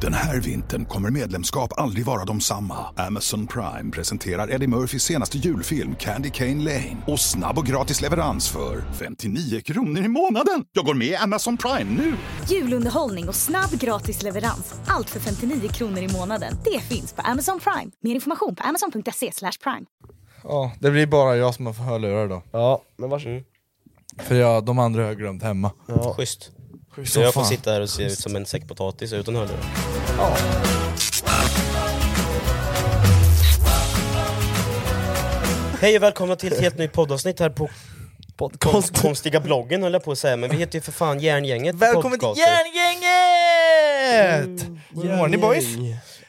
Den här vintern kommer medlemskap aldrig vara de samma. Amazon Prime presenterar Eddie Murphys senaste julfilm Candy Cane Lane. Och snabb och gratis leverans för 59 kronor i månaden. Jag går med i Amazon Prime nu! Julunderhållning och snabb gratis leverans. Allt för 59 kronor i månaden. Det finns på Amazon Prime. Mer information på amazon.se slash prime. Ja, det blir bara jag som har hörlurar då. Ja, men varsågod. Mm. För jag, de andra har jag glömt hemma. Ja. Schysst. Så Så jag får fan. sitta här och se ut som en säck potatis utan hörlurar. Hej och välkomna till ett helt nytt poddavsnitt här på Podcast. konstiga bloggen höll jag på att säga, men vi heter ju för fan Järngänget Välkommen till Podcaster. Mm. Järngänget! Hur mår ni boys?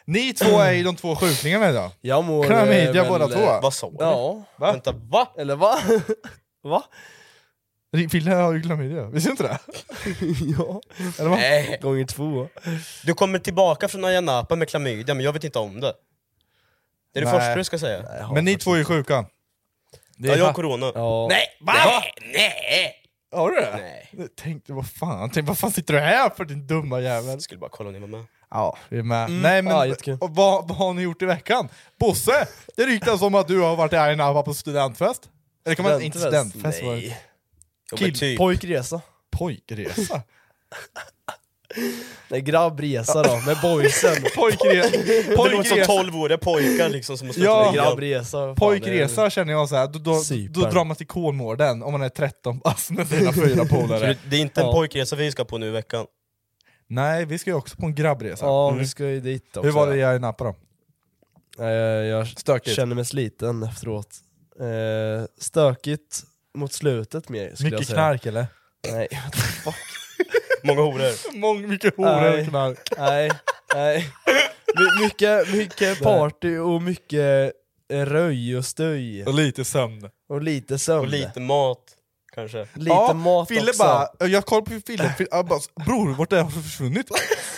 Ni två är ju de två sjuklingarna idag. Jag mår... Kram hit, eh, jag väl, båda eh, två. Vad sa du? Ja, Va? Vänta, va? eller va? va? Ville har ju klamydia, visste du inte det? ja. Eller vad? Nej. Gånger två. Du kommer tillbaka från Ayia Napa med klamydia, men jag vet inte om det. Det är det Nej. första du ska säga. Men ni två är ju sjuka. Det Ja, är jag har corona. Ja. Nej! Va? Nej! Nej! Har du det? Nej. Jag tänkte, vad fan, tänkte, vad fan sitter du här för din dumma jävel? Jag skulle bara kolla om ni var med. Ja, vi är med. Nej men, Mm. Ja, jättekul. och vad, vad har ni gjort i veckan? Bosse, det ryktas om att du har varit i Ayia Napa på studentfest? Eller kan man inte Studentfest? studentfest? var det? Nej. Jo, men Kill- typ. Pojkresa. Pojkresa? Nej, grabbresa då, med boysen. Pojkre... Det låter som Pojkresa. 12-åriga pojkar liksom som har slutat Ja. med grabb. grabbresa. fan, det Pojkresa känner jag så här. Då, då, då Cypern. drar man till Kolmården om man är 13 bast med sina fyra polare. Det är inte en Ja. pojkresa vi ska på nu i veckan. Nej, vi ska ju också på en grabbresa. är- Ja, vi ska ju dit också. Mm. Hur var det i Ayia Napa då? Nej, Jag, jag Stökigt? känner mig sliten efteråt. Eh, stökigt mot slutet mer skulle jag Mycket säga. knark eller? Nej, what the fuck. Många horor. Mång, mycket horor och Nej. knark. nej, nej. My, mycket, mycket party och mycket eh, röj och stöj. Och lite sömn. Och lite sömn. Och lite mat, kanske. Lite mat Fille också. bara, jag kollar på Fille, Fille jag bara, bror vart är jag försvunnit?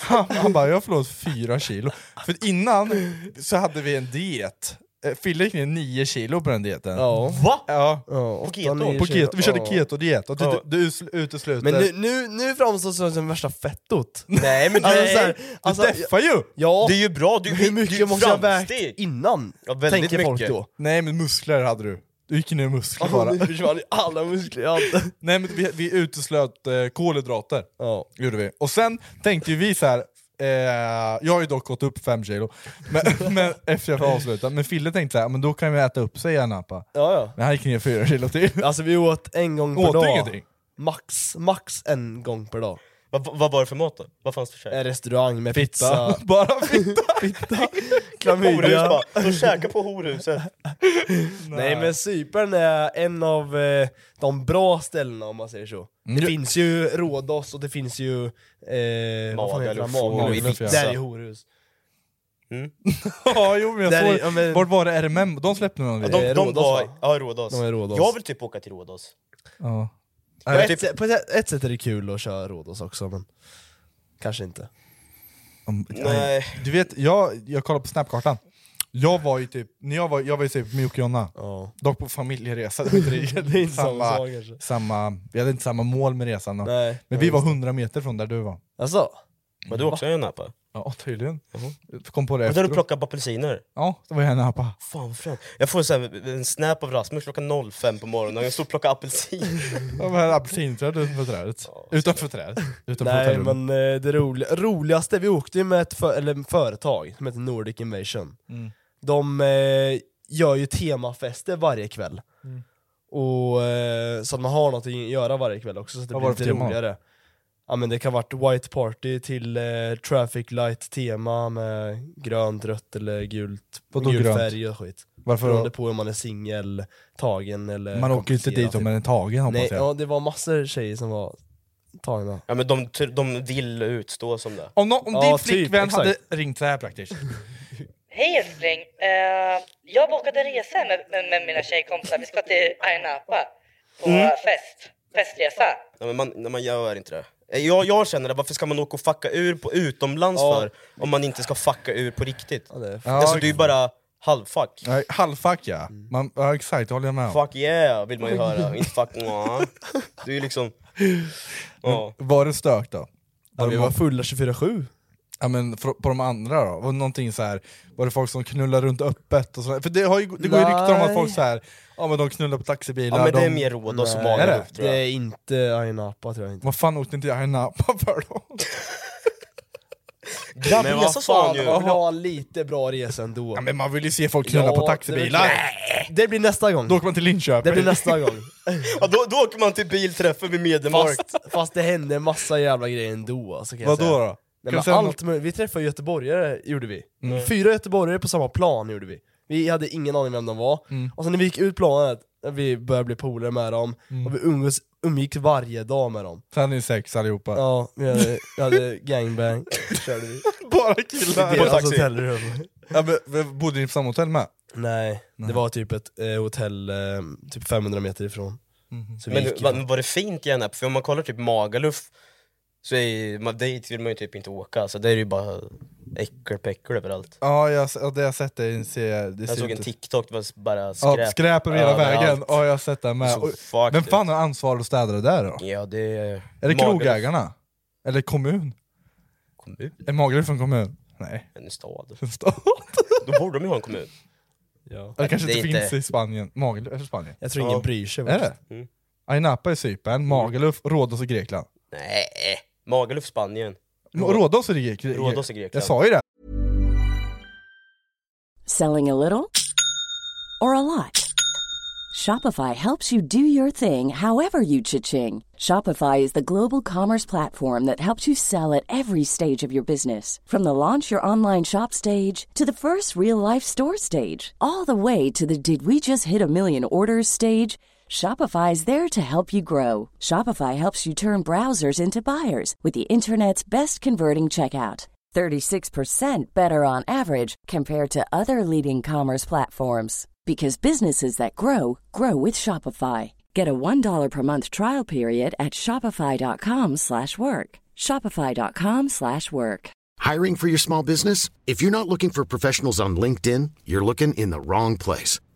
Han, han bara, jag har förlorat fyra kilo. För innan så hade vi en diet. Eh, Fille gick ner nio kilo på den dieten. Ja. Va? Ja, ja åtta, keto? nio på kilo. keto, vi körde Ja. keto-diet och det, Ja. det usl- utesluter... Men nu, nu, nu framstår du som värsta fettot. Nej men Alltså, så nej. här, alltså, du deffar ju! ja, Det är ju bra, du, hur det är mycket ju måste jag ha vägt framsteg. innan? Ja, väldigt tänker folk mycket. då. Nej men muskler hade du. Du gick ner i muskler Ja, bara. nu försvann ju alla muskler jag hade. Nej men vi, vi uteslöt eh, kolhydrater. Ja. Gjorde vi. Och sen tänkte ju vi så här. Eh, jag har ju dock gått upp fem kilo men, men efter jag får avsluta. Men Fille tänkte så här, men då kan vi äta upp sig i Napa. Ja, Men han gick ner fyra kilo till. ja. Alltså vi åt en gång per Åt dag. ingenting. Max, max en gång per dag. Vad vad var det för mat då? Vad fanns det för En käk? restaurang med pizza, Bara fitta! Horhus klamydia. bara, de käkar på horhuset. Nej men Cypern är en av eh, de bra ställena om man säger så. Det Mm. finns ju Rhodos och det finns ju... Eh, vad fan heter det? Magaluf. Magaluf. Magaluf, ja. Där är horhus. ja, jo, men jag Där är- såg, ja, men- Vart var det RMM? De släppte någon video. Eh, De, de Rhodos, var... va? Ja, Rhodos. De är Rhodos. Jag vill typ åka till Rhodos. Ja. På, Nej, ett, typ- sätt- på ett, ett sätt är det kul att köra Rhodos också men kanske inte. Om- Nej. Du vet, jag, jag kollade på snapkartan. Jag var ju typ, när jag var, jag var ju typ med Jocke och Jonna. Ja. Dock på familjeresa, det var inte riktigt Det är inte samma samma, sak, kanske. samma, vi hade inte samma mål med resan. då. Nej. Men vi var 100 meter från där du var. Alltså? Men du också är en apa? Ja, tydligen. Jag Kom på det Och då har du efteråt. plockat apelsiner? Ja, det var jag i Napa. Fan vad fränt. Jag får så här, en snap av Rasmus klockan 05 på morgonen, jag står och plockar apelsin. Det var här apelsinträdet utanför trädet. Utanför trädet. Utanför Nej hotellrummet. men eh, det roli roligaste, vi åkte ju med ett för eller ett företag som heter Nordic Invasion. Mm. De eh, gör ju temafester varje kväll. Mm. Och, eh, så att man har något att göra varje kväll också, så att det Vad blir var det lite för tema? roligare. Ja men det kan ha varit White Party till eh, Traffic Light tema med grönt, rött eller gult, Vadå gul grönt? färg och skit. Varför då? Beroende på om man är singel, tagen eller Man åker ju inte komplicerad, dit om man är tagen hoppas Nej, jag. ja, det var massor tjejer som var tagna. Ja men de, de vill utstå som det. Om, nå- om Ja, din typ, flickvän exakt. hade ringt så här praktiskt. Hej älskling! Eh, jag bokade en resa med, med, med mina tjejkompisar. Vi ska till Ayia Napa på Mm. fest. Festresa. Ja, men man, nej, man gör inte det. Eh, Jag, jag känner det, varför ska man åka och fucka ur på utomlands Ja. för om man inte ska fucka ur på riktigt? Ja, det är Ja, alltså det är ju bara halvfuck. Nej, Halvfack ja. Man, ja exakt, det håller jag med om. Fuck yeah vill man ju höra, inte fuck mwah. Det är ju liksom... Ja. Var det stök då? Ja, vi var fulla 24-7. Ja, men fr- på de andra då? Var, det någonting så här, var det folk som knullar runt öppet? Och så, för det, har ju, det går ju rykten om att folk så här, ja, men de knullar på taxibilar. Ja men det är de, mer råd och Nej, är Somalia det? upp tror Det jag. är inte Ayia Napa tror jag inte. Vad fan åkte inte jag i Napa för då? Men Grabbresa vad sa fan, han ju! jag vill ha lite bra resa ändå. Ja, men man vill ju se folk knulla Ja, på taxibilar! det blir- Det blir nästa gång. Då åker man till Det Linköping. blir nästa gång. Ja, då, då åker man till bilträffen vid Medelmark. Fast, fast det hände en massa jävla grejer ändå alltså, kan jag Vadå säga. då? Nej, Kan men vi säga Mm. allt möjligt. Vi träffade göteborgare, gjorde vi. Fyra göteborgare på samma plan gjorde vi. Vi hade ingen aning vem de var. Mm. Och sen när vi gick ut planet, vi började bli polare med dem, Mm. och vi umgås, umgicks varje dag med dem. Sen är ni sex allihopa. Ja, vi hade, vi hade gangbang, körde vi. Bara I killar! deras taxi. hotellrum. Ja, men, men bodde ni på samma hotell med? Nej, det var typ ett eh, hotell eh, typ 500 meter ifrån. Så vi Men gick ju var, var det fint igen? För om man kollar typ Magaluf, så är, man, dit vill man ju typ inte åka, så där är det ju bara äckelpäckel överallt. Ja, jag, ja, det har jag sett dig se. Det ser Jag såg ut- en TikTok, det var s- bara skräp. Ja, skräp över hela vägen. överallt. Ja, jag har sett det med. Så Och- fucked. Vem fan har ansvar att städa det där då? Ja, det är... Är det Magaluf krogägarna? Eller kommun? kommun? Är Magaluf en kommun? Nej, En stad. en stad. Då borde de ju ha en kommun. Det kanske det är inte finns inte- i Spanien. Magaluf, eller Spanien. Jag tror ingen Ja. bryr sig. Är faktiskt. det? Mm. Ayia Napa är Cypern, Magaluf, Rhodos är Grekland. Nej, Magaluf Spanien. Rhodos är i Grekland. Rhodos är Grekland. Jag sa ju det. Selling a little or a lot? Shopify helps you do your thing however you cha-ching. Shopify is the global commerce platform that helps you sell at every stage of your business. From the launch your online shop stage to the first real life store stage, all the way to the did we just hit a million orders stage. Shopify is there to help you grow. Shopify helps you turn browsers into buyers with the internet's best converting checkout. 36% better on average compared to other leading commerce platforms because businesses that grow grow with Shopify. Get a $1 per month trial period at shopify.com/work. slash work. shopify.com/work. slash work. Hiring for your small business? If you're not looking for professionals on LinkedIn, you're looking in the wrong place.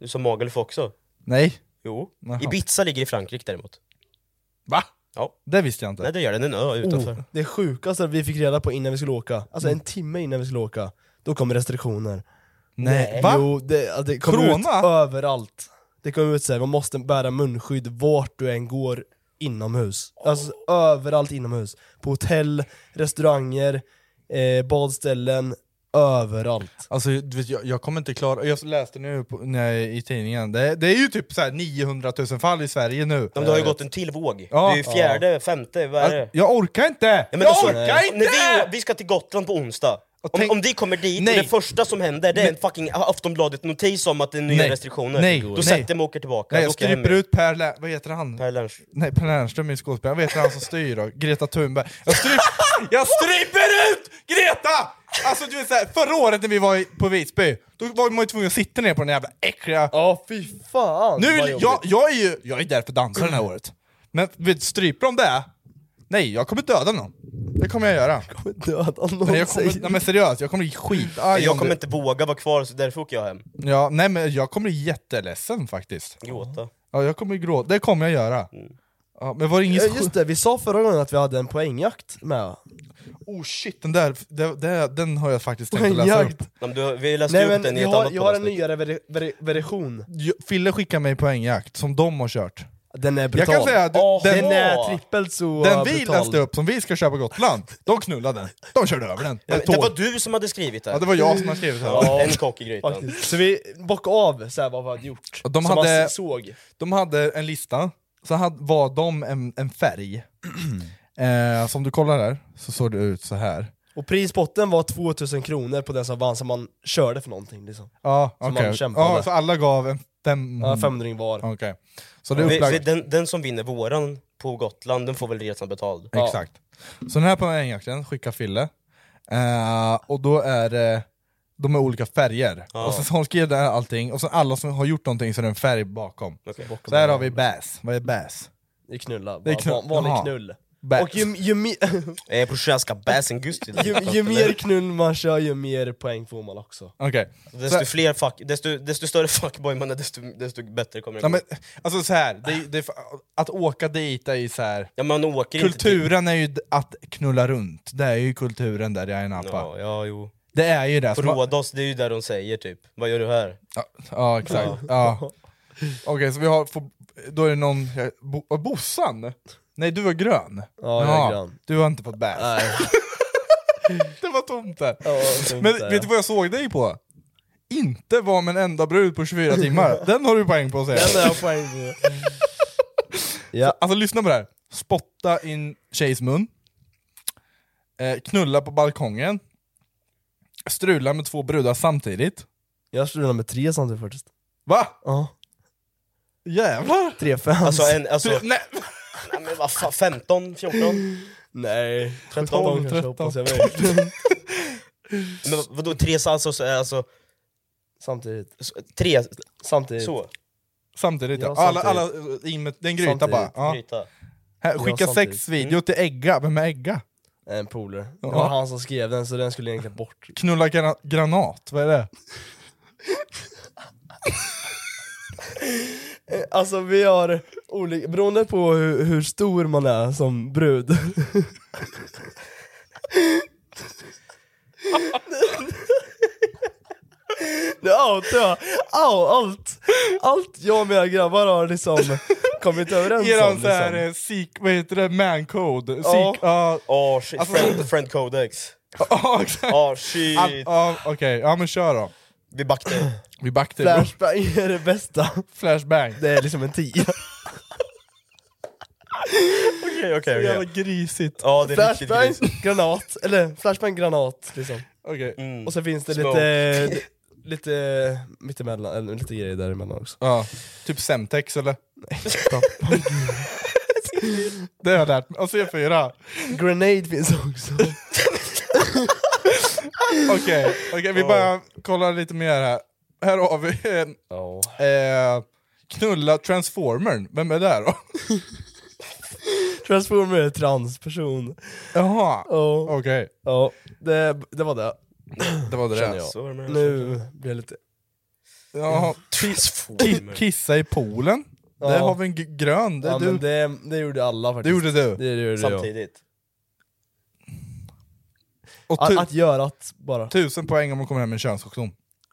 Du sa Magaluf också? Nej. Jo. Jaha. Ibiza ligger i Frankrike däremot. Va? Ja. Det visste jag inte. Nej, det gör den. En ö utanför. Oh, det sjukaste vi fick reda på innan vi skulle åka, alltså en timme innan vi skulle åka, då kom restriktioner. Nej. Va? Jo, det, ja, det kom ut Corona? överallt. Det kom ut såhär, man måste bära munskydd vart du än går inomhus. Alltså överallt inomhus. På hotell, restauranger, eh, badställen, överallt. Alltså, du vet, jag, jag kommer inte klara... Jag läste nu på, när, jag- i tidningen, det, det är ju typ så här 900 000 fall i Sverige nu. Men det har ju gått en till våg. Ja. det är ju fjärde, femte, vad är det? Jag, jag orkar inte! Ja, men jag alltså, orkar inte! När vi, vi ska till Gotland på onsdag. Om, tänk- om vi kommer dit Nej. och det första som händer det är en fucking Aftonbladet-notis om att det är nya Nej. restriktioner. Nej. Då Nej. sätter jag mig och åker tillbaka. Nej, Då jag åker jag hem stryper igen. ut Per... Lä- vad heter han? Per Lernström. Nej, Per Lernström är skådespelare. Vad heter han som styr då? Greta Thunberg. Jag, stryp, jag stryper ut Greta! Alltså du vet såhär, förra året när vi var i, på Visby, då var man ju tvungen att sitta ner på den jävla äckliga... Ja fy fan nu vad vill, jobbigt. jag, jag är ju jag är där för att dansa det här året. Men vet, stryper de det? Nej, jag kommer döda någon. Det kommer jag göra. Döda någon Nej, jag säger- kommer, nej men seriöst, jag kommer bli skitarg Jag om kommer du- inte våga vara kvar, så därför åker jag hem. ja, Nej men jag kommer bli jätteledsen faktiskt. Gråta. Ja, jag kommer gråta, det kommer jag göra. Ja, men var det ingen Mm. Ja, just det, vi sa förra gången att vi hade en poängjakt med. Oh shit, den där, den, den, den har jag faktiskt tänkt att läsa Poängjakt! upp. Nej, men du, vi läste Nej upp men den i jag ett har, annat jag har en poddavsnitt. nyare ver- ver- version. Jo, Fille skickar mig poängjakt som de har kört. Den är Jag brutal. kan säga att Åh, den, Den den, är trippelt så den uh, vi brutal. läste upp som vi ska köpa på Gotland, de knullade den. De körde över den. Ja, Med men Det var tåg. du som hade skrivit det. Ja, det var jag som har skrivit det här. Ja, en kock i grytan. Faktiskt. Så vi bockade av så här, vad vi hade gjort. Och de som hade- man såg. De hade en lista, så had, var de en, en färg. eh, som du kollar där, så såg det ut så här. Och prispotten var 2000 kronor på den som vann, som man körde för någonting liksom. Ja, Som okej. man kämpade. ja, så alla gav en fem... Ja, 500 var. Okej. Så det är Vi, vi, upplagt. den, den som vinner våran på Gotland, den får väl resan betald. Exakt. Så den här poängjakten skickar Fille, eh, och då är det de är olika färger, och sen så hon skrev där allting, och sen alla som har gjort någonting så är det en färg bakom. Okej. Så här har vi bass, vad är bass? Det är knulla. Det är knull- Va- Vanlig Jaha. knull. Bass. Och ju, ju, mi- Eh, brorsan ska bäsen gusti. ju, ju mer knull man kör, ju mer poäng får man också. Okej. Desto, Så- fler fuck, desto, desto större fuckboy man är, desto, desto bättre kommer det Ja, gå. men, alltså så här, det, det, att åka dit är ju så här. Ja, man åker inte typ- Kulturen är ju d- att knulla runt, det är ju kulturen där i Ayia till... Napa. Ja, ja, jo. Det är ju det. På som har- Rhodos, det är ju där de säger typ, vad gör du här? Ja, ja exakt. Ja. Okej, så vi har, får- då är det någon, bo, var Bossan? Nej du var grön? Ja, jag är grön. Du har inte fått bärs? Nej. Det var tomt där. Ja, det är Men inte- vet du vad jag såg dig på? Inte var med en enda brud på 24 timmar, den har du poäng på säger Den jag. har jag poäng på. ja. Alltså lyssna på det här, spotta in tjejs mun, eh, knulla på balkongen, strula med två brudar samtidigt. Jag slog nummer tre samtidigt faktiskt. Va? Ja. Jävlar! Tre fem. Alltså, en, alltså Nej. nej, men vad fan, 15, 14? Nej. 13, kanske, hoppas jag vet. Men vadå, tre salsor, alltså, Samtidigt. så- tre, Samtidigt. så, Samtidigt ja. Ja, Alla, alla, samtidigt. in med, det är en gryta bara. Samtidigt. Ja. gryta. Här, skicka samtidigt. Mm. sexvideo till Egga, vem är Egga? En polare. Det Ja. var han som skrev den, så den skulle egentligen bort. Knulla gra granat, vad är det? Alltså vi har olika, beroende på hur, hur stor man är som brud. Nu outar jag Au, allt, allt jag och mina grabbar har liksom kommit överens om. Eran såhär, Liksom. eh, seek, vad heter det, mancode? Ja. Seek, ja. Åh shit, Alltså- friend, friend codex. Ja, exakt. Åh All- shit. ja, Okej, ja men kör då. Vi backade. Vi backar Flash. Flashbang är det bästa. flashbang. Det är liksom en tia. Okej, okej, Jävla okej. grisigt. Ja, det är riktigt Flashbang, gris. granat, eller flashbang, granat liksom. Okej. Mm. Och så finns det Smoke. lite, lite mittemellan, eller lite grejer däremellan också. Ja, typ Semtex eller? det har jag lärt mig. Och C4. Grenade finns också. Okej, okej, vi bara kollar lite mer här. Här har vi en Ja. Eh, knulla transformern, vem är det då? Transformer är transperson. Jaha, Ja. okej. Ja, det, det var det. Det var det Känner där. jag. Så var det med- Nu blir jag lite... Jaha. Ki- Transformer. Kissa i poolen, där Ja. har vi en g- grön, det är Ja, du. men det, det gjorde alla Det faktiskt. gjorde du. det, det gjorde jag. Samtidigt. Och Ah, Att, tu- att göra att bara. tusen poäng om man kommer hem med en könssjukdom.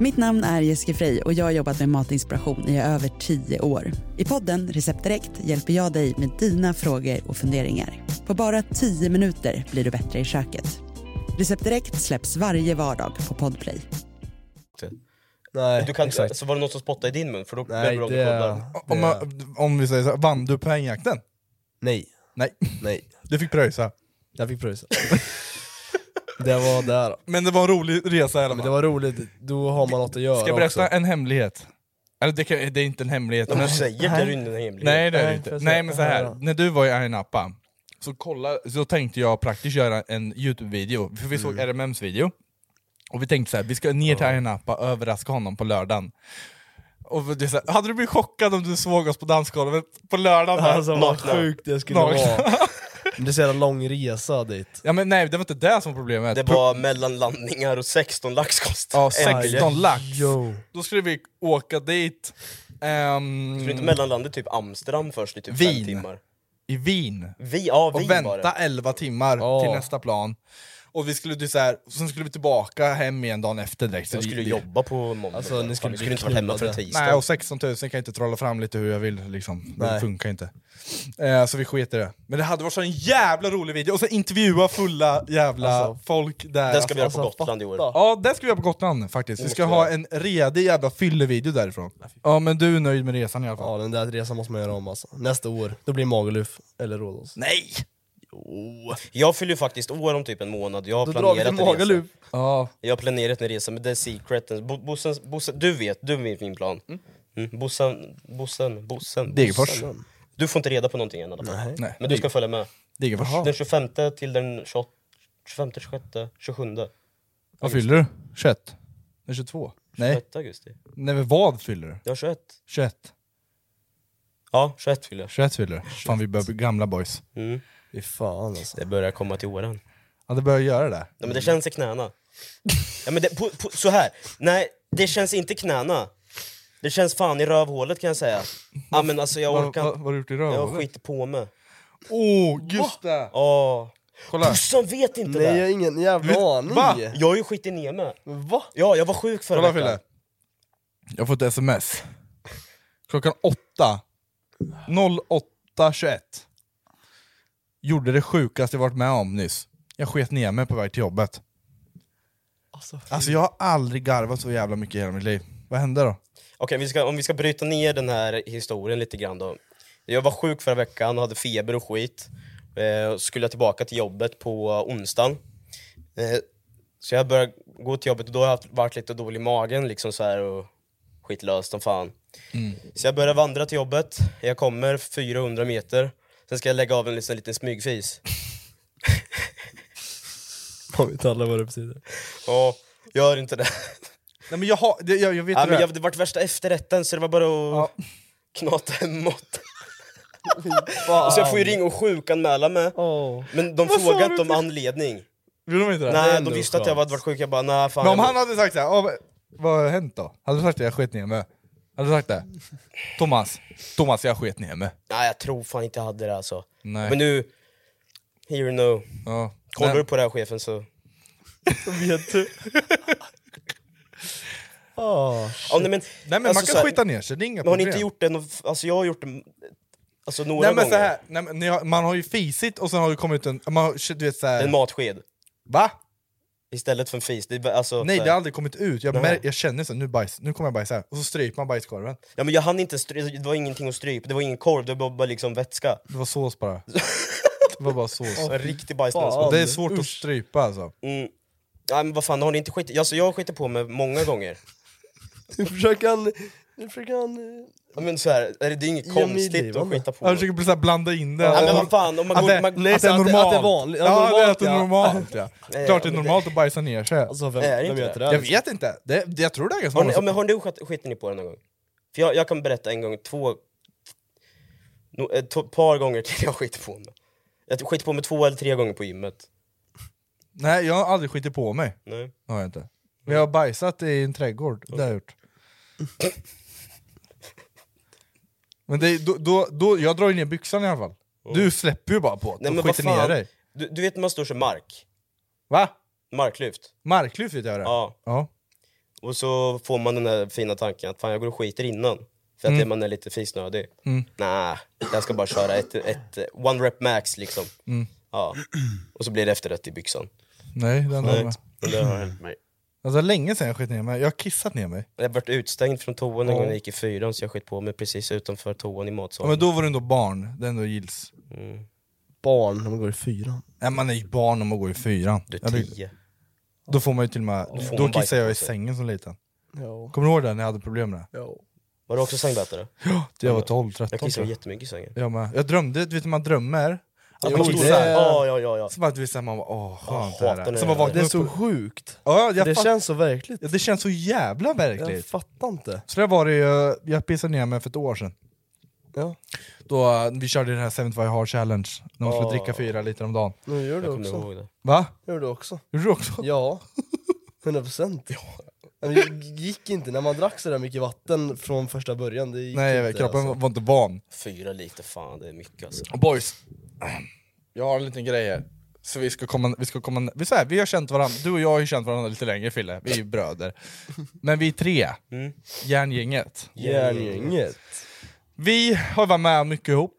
Mitt namn är Jessica Frey och jag har jobbat med matinspiration i över tio år. I podden Recept Direkt hjälper jag dig med dina frågor och funderingar. På bara tio minuter blir du bättre i köket. Recept Direkt släpps varje vardag på Podplay. inte. Nej, Du kan inte... exakt. Så var det någon som spottade i din mun, för då Nej, blev det... du av med det podden. Om, man, om vi säger så här, vann du poängjakten? Nej, Nej, nej. du fick pröjsa. Jag fick pröjsa. det var där. Men det var en rolig resa i alla Men det fall. var roligt, då har man något att göra Ska jag berätta också. en hemlighet? Eller det, kan, det är inte en hemlighet. Om men- du säger det är det ju inte en hemlighet. Nej det är det Nej, inte. precis. Nej men så här. Ja. när du var i Ayia Napa, så, kolla, så tänkte jag praktiskt göra en Youtube-video, för vi Mm. såg RMMs video, och vi tänkte så här, vi ska ner till Ayia Napa och överraska honom på lördagen. Och det är så här, hade du blivit chockad om du såg oss på dansgolvet på lördagen? Alltså vad Nakna. sjukt det skulle Nakna. vara. Det är så jävla lång resa dit. Ja men nej, det var inte det som var problemet. Det var mellanlandningar och 16 lax kostade Ja, 16 lax. Jo. Då skulle vi åka dit ehm, Skulle inte mellanlandet typ Amsterdam först i typ Wien. fem timmar? i Wien. Vi, ja, och vi var vänta det. 11 timmar Ja. till nästa plan. Och vi skulle, du, så här, sen skulle vi tillbaka hem igen dagen efter direkt. Så Jag det- skulle det- jobba på måndag. Alltså, Fan, ni vi skulle bli skulle inte varit hemma för en knullade. tisdag. Nej, och 16 000 kan jag inte trolla fram lite hur jag vill. Liksom. Det Nej. funkar inte. Eh, så vi sket i det. Men det hade varit så en jävla rolig video. Och så intervjua fulla jävla Alltså, folk där. det ska vi göra på Alltså, Gotland i år. fatta. Ja, det ska vi göra på Gotland faktiskt. Vi måste ska vi ha göra. en redig jävla fyllevideo därifrån. Ja, men du är nöjd med resan i alla fall? Ja den där resan måste man göra om alltså. Nästa år, då blir det Magaluf eller Rhodos. Nej! Jag fyller ju faktiskt år om typ en månad, jag har Då drar vi planerat till en Magaluf. resa. Ja, Jag har planerat en resa, men det är secreten. Bo, bossen, bossen, du vet, du vet min plan. Mm. Bossen, bossen, bossen. Degerfors. bossen. Du får inte reda på någonting än i alla fall. Nej. Men du ska följa med. Degerfors. Den 25 till den 28, 25, 26, 27. Vad fyller du? 21? Nej, 22? Nej, 21 augusti. Nej men vad fyller du? Jag har 21. 21? Ja, 21 fyller jag. 21 fyller du? Fan vi börjar bli gamla boys. Mm. Fy fan alltså. Det börjar komma till åren. Ja det börjar göra det. Ja, men det känns i knäna. Ja, men det, på, på, så här. nej det känns inte i knäna. Det känns fan i rövhålet kan jag säga. Ja, men alltså jag Vad, vad, orkar vad inte. har du gjort i Jag rövhålet? skiter på mig. Åh, oh, just det! Åh. Kolla. Pussan vet inte Nej jag har det! ingen jävla aning. Va? Jag har ju skitit ner mig. Va? Ja, jag var sjuk förra Kolla veckan. Fille. Jag har fått ett sms. Klockan 8. 08.21. Gjorde det sjukaste jag varit med om nyss. Jag sket ner mig på väg till jobbet. Alltså, Alltså jag har aldrig garvat så jävla mycket i hela mitt liv. Vad hände då? Okej, vi ska, om vi ska bryta ner den här historien lite grann då. Jag var sjuk förra veckan och hade feber och skit. Eh, och skulle jag tillbaka till jobbet på onsdagen. Eh, så jag började gå till jobbet och då har jag haft- varit lite dålig i magen liksom så här och skitlös som fan. Så jag började vandra till jobbet. Jag kommer 400 meter. Sen ska jag lägga av en liten, liten smygfis. man vet aldrig vad det betyder. Ja, gör inte det. Nej men jag har, det- jag, jag vet Ja, hur men det jag, är. det vart värsta efterrätten så det var bara att knata hemåt. Och så Alltså, jag får ju ringa och sjukanmäla mig. Åh. Men de Vad sa frågade du inte om till- anledning. Vill de inte det? Nej, ändå de visste att jag hade varit sjuk, jag bara nej fan. Men om jag- han hade sagt såhär, "Ja, men vad har hänt då? Hade du sagt det? Jag sket ner mig. Hade du sagt det? Thomas, Thomas jag sket ner mig. Nej jag tror fan inte jag hade det alltså. Nej. Men nu, here and now. Ja. Kollar Men- du på det här chefen så... Vet du? Ah, Ja, nej, men, Nej men man alltså, kan så här- skita ner sig, det är inga Men har ni problem. inte gjort det? någon- Alltså jag har gjort det alltså, några Nej men gånger. så här, nej, men ni har, man har ju fisit och sen har det kommit en... Man har, du vet så här, En matsked. va? Istället för en fis. Det är, bara- alltså, Nej så det har här. aldrig kommit ut, jag, Nej. mär, jag känner så, nu, bajs, nu kommer jag bajsa här. Och så stryper man bajskorven. ja, men jag hann inte stry- det var ingenting att strypa, det var ingen korv, det var bara liksom vätska. Det var sås bara. Det var bara sås. En riktig bajsnös. fan. Det är svårt att strypa alltså. Mm. Nej men vad fan, har ni inte skitit? Alltså jag har skitit på mig många gånger. nu försöker han... Nu försöker han... eh, Ja, Men så här, är det, det är inget Ja, men det är konstigt att levande. skita på Jag mig. försöker bara så här blanda in det. Ja, men vad fan, om man att går- det, man- alltså, att det är att det- normalt. att det är vanligt- ja, ja, normalt, det är att det är ja. normalt ja. Ja, Klart det är men det- normalt att bajsa ner sig. Alltså vem, Är det vem inte gör det? inte det? Jag vet inte, det, det, jag tror det är ganska Har ni, vanligt. ja, men har ni skit, skiter ni på det någon gång? För jag, jag kan berätta en gång, två... No, ett to- par gånger till jag skiter på mig. Jag skiter på mig två eller tre gånger på gymmet. Nej jag har aldrig skitit på mig. Nej. Det har jag inte. Men jag har bajsat i en trädgård, det har jag gjort. Men det, är- då, då, då, jag drar ju ner byxan i alla fall. Du släpper ju bara på det Oh. Nej, och men vad skiter ner fan? dig. Du, du vet när man står så mark? Va? Marklyft? Marklyft vet jag det. Ja. Ja. Och så får man den där fina tanken att fan jag går och skiter innan. För att man är lite fisnödig. Mm. Nej, jag ska bara köra ett, ett eh, one rep max liksom. Mm. Ja. Och så blir det efterrätt i byxan. Nej, den har jag med. Nej. Men det har hänt mig. Alltså länge sedan jag skit ner mig. Jag har kissat ner mig. Jag vart utstängd från toan en gång när jag gick i fyran så jag skit på mig precis utanför toan i Ja, matsalen. men då var du ändå barn, det ändå gills. Barn, de går i fyran. Nej, man är ju barn om man går i fyran. Du Ja, är det- tio. då får man ju till och med... får Då man bajsa kissade jag på i sig. sängen som liten. Ja. Kommer du ihåg det när jag hade problem med det? ja. Var du också sängbätare? Jag var 12, 13 Jag kissade tror jag. jättemycket i sängen. Jag, med. jag drömde, du vet när man drömmer? Att man Jag står stod det- såhär. såhär, ja ja ja ja. Så bara, du vet, så här, man bara åh skönt Jag det hatar här. när Så det man vaknar Det är upp så och, sjukt. ja, jag det det, fatt, känns så verkligt. ja, det känns så jävla Jag verkligt. fattar inte. Så det var det ju, jag pissade ner mig för ett år sedan. Ja. Då, eh, vi körde det här 75 hard challenge, när man Ja. skulle dricka fyra liter om dagen. Nu gör du Jag kommer också. ihåg det. Va? Gör du också. Gjorde du också? Ja. 100 procent. Men Det gick inte när man drack så där mycket vatten från första början. Det gick Nej, jag inte, vet, kroppen alltså. var inte van. Fyra liter, fan det är mycket alltså. Boys, jag har en liten grej här. Så vi ska komma... Vi, ska komma vi, så här, vi har känt varandra, du och jag har ju känt varandra lite längre Fille, vi är ju bröder. Men vi är tre, järngänget. Järngänget. Vi har varit med mycket ihop.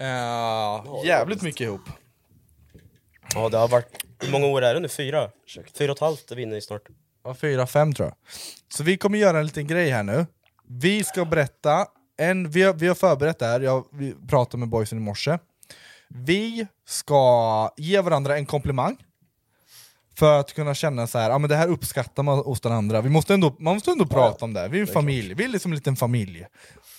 Eh, jävligt mycket ihop. Ja det har varit, hur många år är det nu? Fyra? Fyra och ett halvt vinner vi snart. Ja, fyra, fem tror jag. Så vi kommer göra en liten grej här nu. Vi ska berätta, en, vi, har, vi har förberett det här, jag vi pratade med boysen i morse. Vi ska ge varandra en komplimang. För att kunna känna så här, ja, men det här uppskattar man hos den andra. Vi måste ändå, man måste ändå prata om det, här. vi är en familj, vi är liksom en liten familj.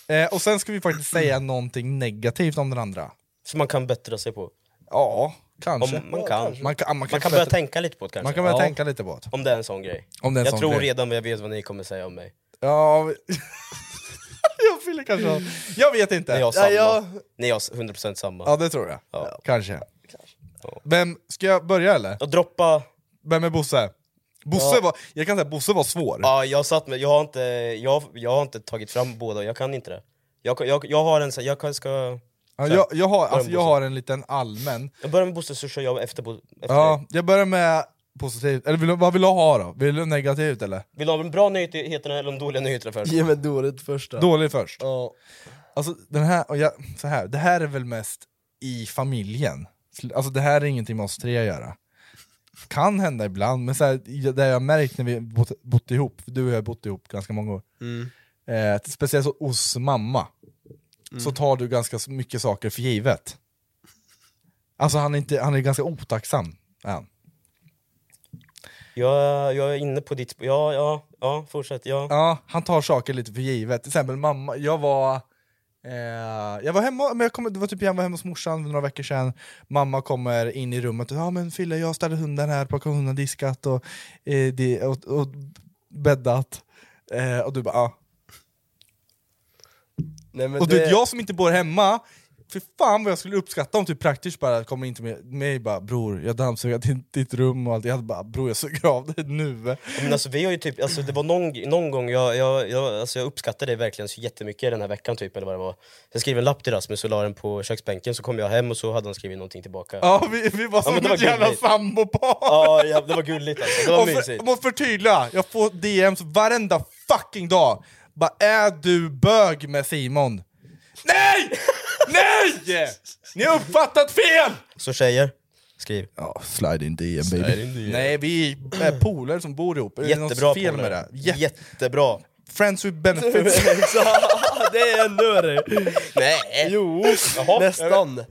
Eh, och sen ska vi faktiskt säga Mm. någonting negativt om den andra. Som man kan bättra sig på. Ja, Om kanske. man kan. Man kan, man kan, Man kan börja börja, tänka lite på det kanske. man kan börja Ja. tänka lite på det. Om det är en sån grej. Om det är en jag sån tror grej. redan jag vet vad ni kommer säga om mig. Ja, vi- jag fyller kanske av. Jag vet inte. Ni har Ja, samma. jag... Ni har 100% samma. ja det tror jag. Ja. Kanske. Vem, ska jag börja eller? Och droppa... Vem är Bosse? Bosse var, jag kan säga Bosse var svår. Ja, jag satt med... Jag har inte, jag, jag har inte tagit fram båda, jag kan inte det. Jag, jag, jag har en sån... Jag kan- ska... Ja, jag, jag, har, Börja alltså, med jag Bosse. har en liten allmän. Jag börjar med Bosse så kör jag efter, Bo- efter dig. Ja, jag börjar med positivt, eller vill, du- vad vill du ha då? Vill du negativt eller? Vill du ha de bra nyheterna eller de dåliga nyheterna först? Ge mig dåligt första. Dålig först. Ja. Alltså, den här, och jag, så här, det här är väl mest i familjen. Alltså det här är ingenting med oss tre att göra. Kan hända ibland, men så här, jag- det jag har märkt när vi bott, bott ihop, du och jag har bott ihop ganska många år, Mm. eh, speciellt så hos mamma, så Mm. tar du ganska så mycket saker för givet. Alltså han är, inte, han är ganska otacksam. är han. Jag, jag är inne på ditt... sp- Ja, ja, ja, fortsätt. Ja. Ja, han tar saker lite för givet. Till exempel mamma, jag var... Eh, jag var hemma, men jag kom, det var typ jag var hemma hos morsan för några veckor sedan. Mamma kommer in i rummet och ja men Fille jag har städat hunden här, plockat hunden, diskat och, eh, det, och, och bäddat. Eh, och du bara ja. Nej, men Och det... du vet, jag som inte bor hemma, för fan vad jag skulle uppskatta om typ praktiskt bara kommer in till mig, mig bara bror jag dammsuger ditt, ditt rum och allt. Jag hade bara bror jag suger av det nu. Men alltså, vi har ju typ, alltså, det var någon, någon gång jag, jag, jag, alltså, jag uppskattade det verkligen så jättemycket den här veckan typ, eller vad det var. Jag skrev en lapp till Rasmus och la den på köksbänken, så kom jag hem och så hade han skrivit någonting tillbaka. Ja, Ja vi, vi var som men det var ett jävla gulligt. sambopar. ja, det var gulligt alltså, det var Och för, mysigt. jag måste förtydliga, jag får DMs varenda fucking dag. Bara är du bög med Simon? Nej! Nej! Ni har uppfattat fel! Så tjejer, skriv. Ja, slide in DM baby. Nej, vi är polare som bor ihop. Är det något Jättebra fel med polare. det? Jä- Jättebra. Friends with benefits. det är ännu värre! Nej! Jo, Jaha. nästan.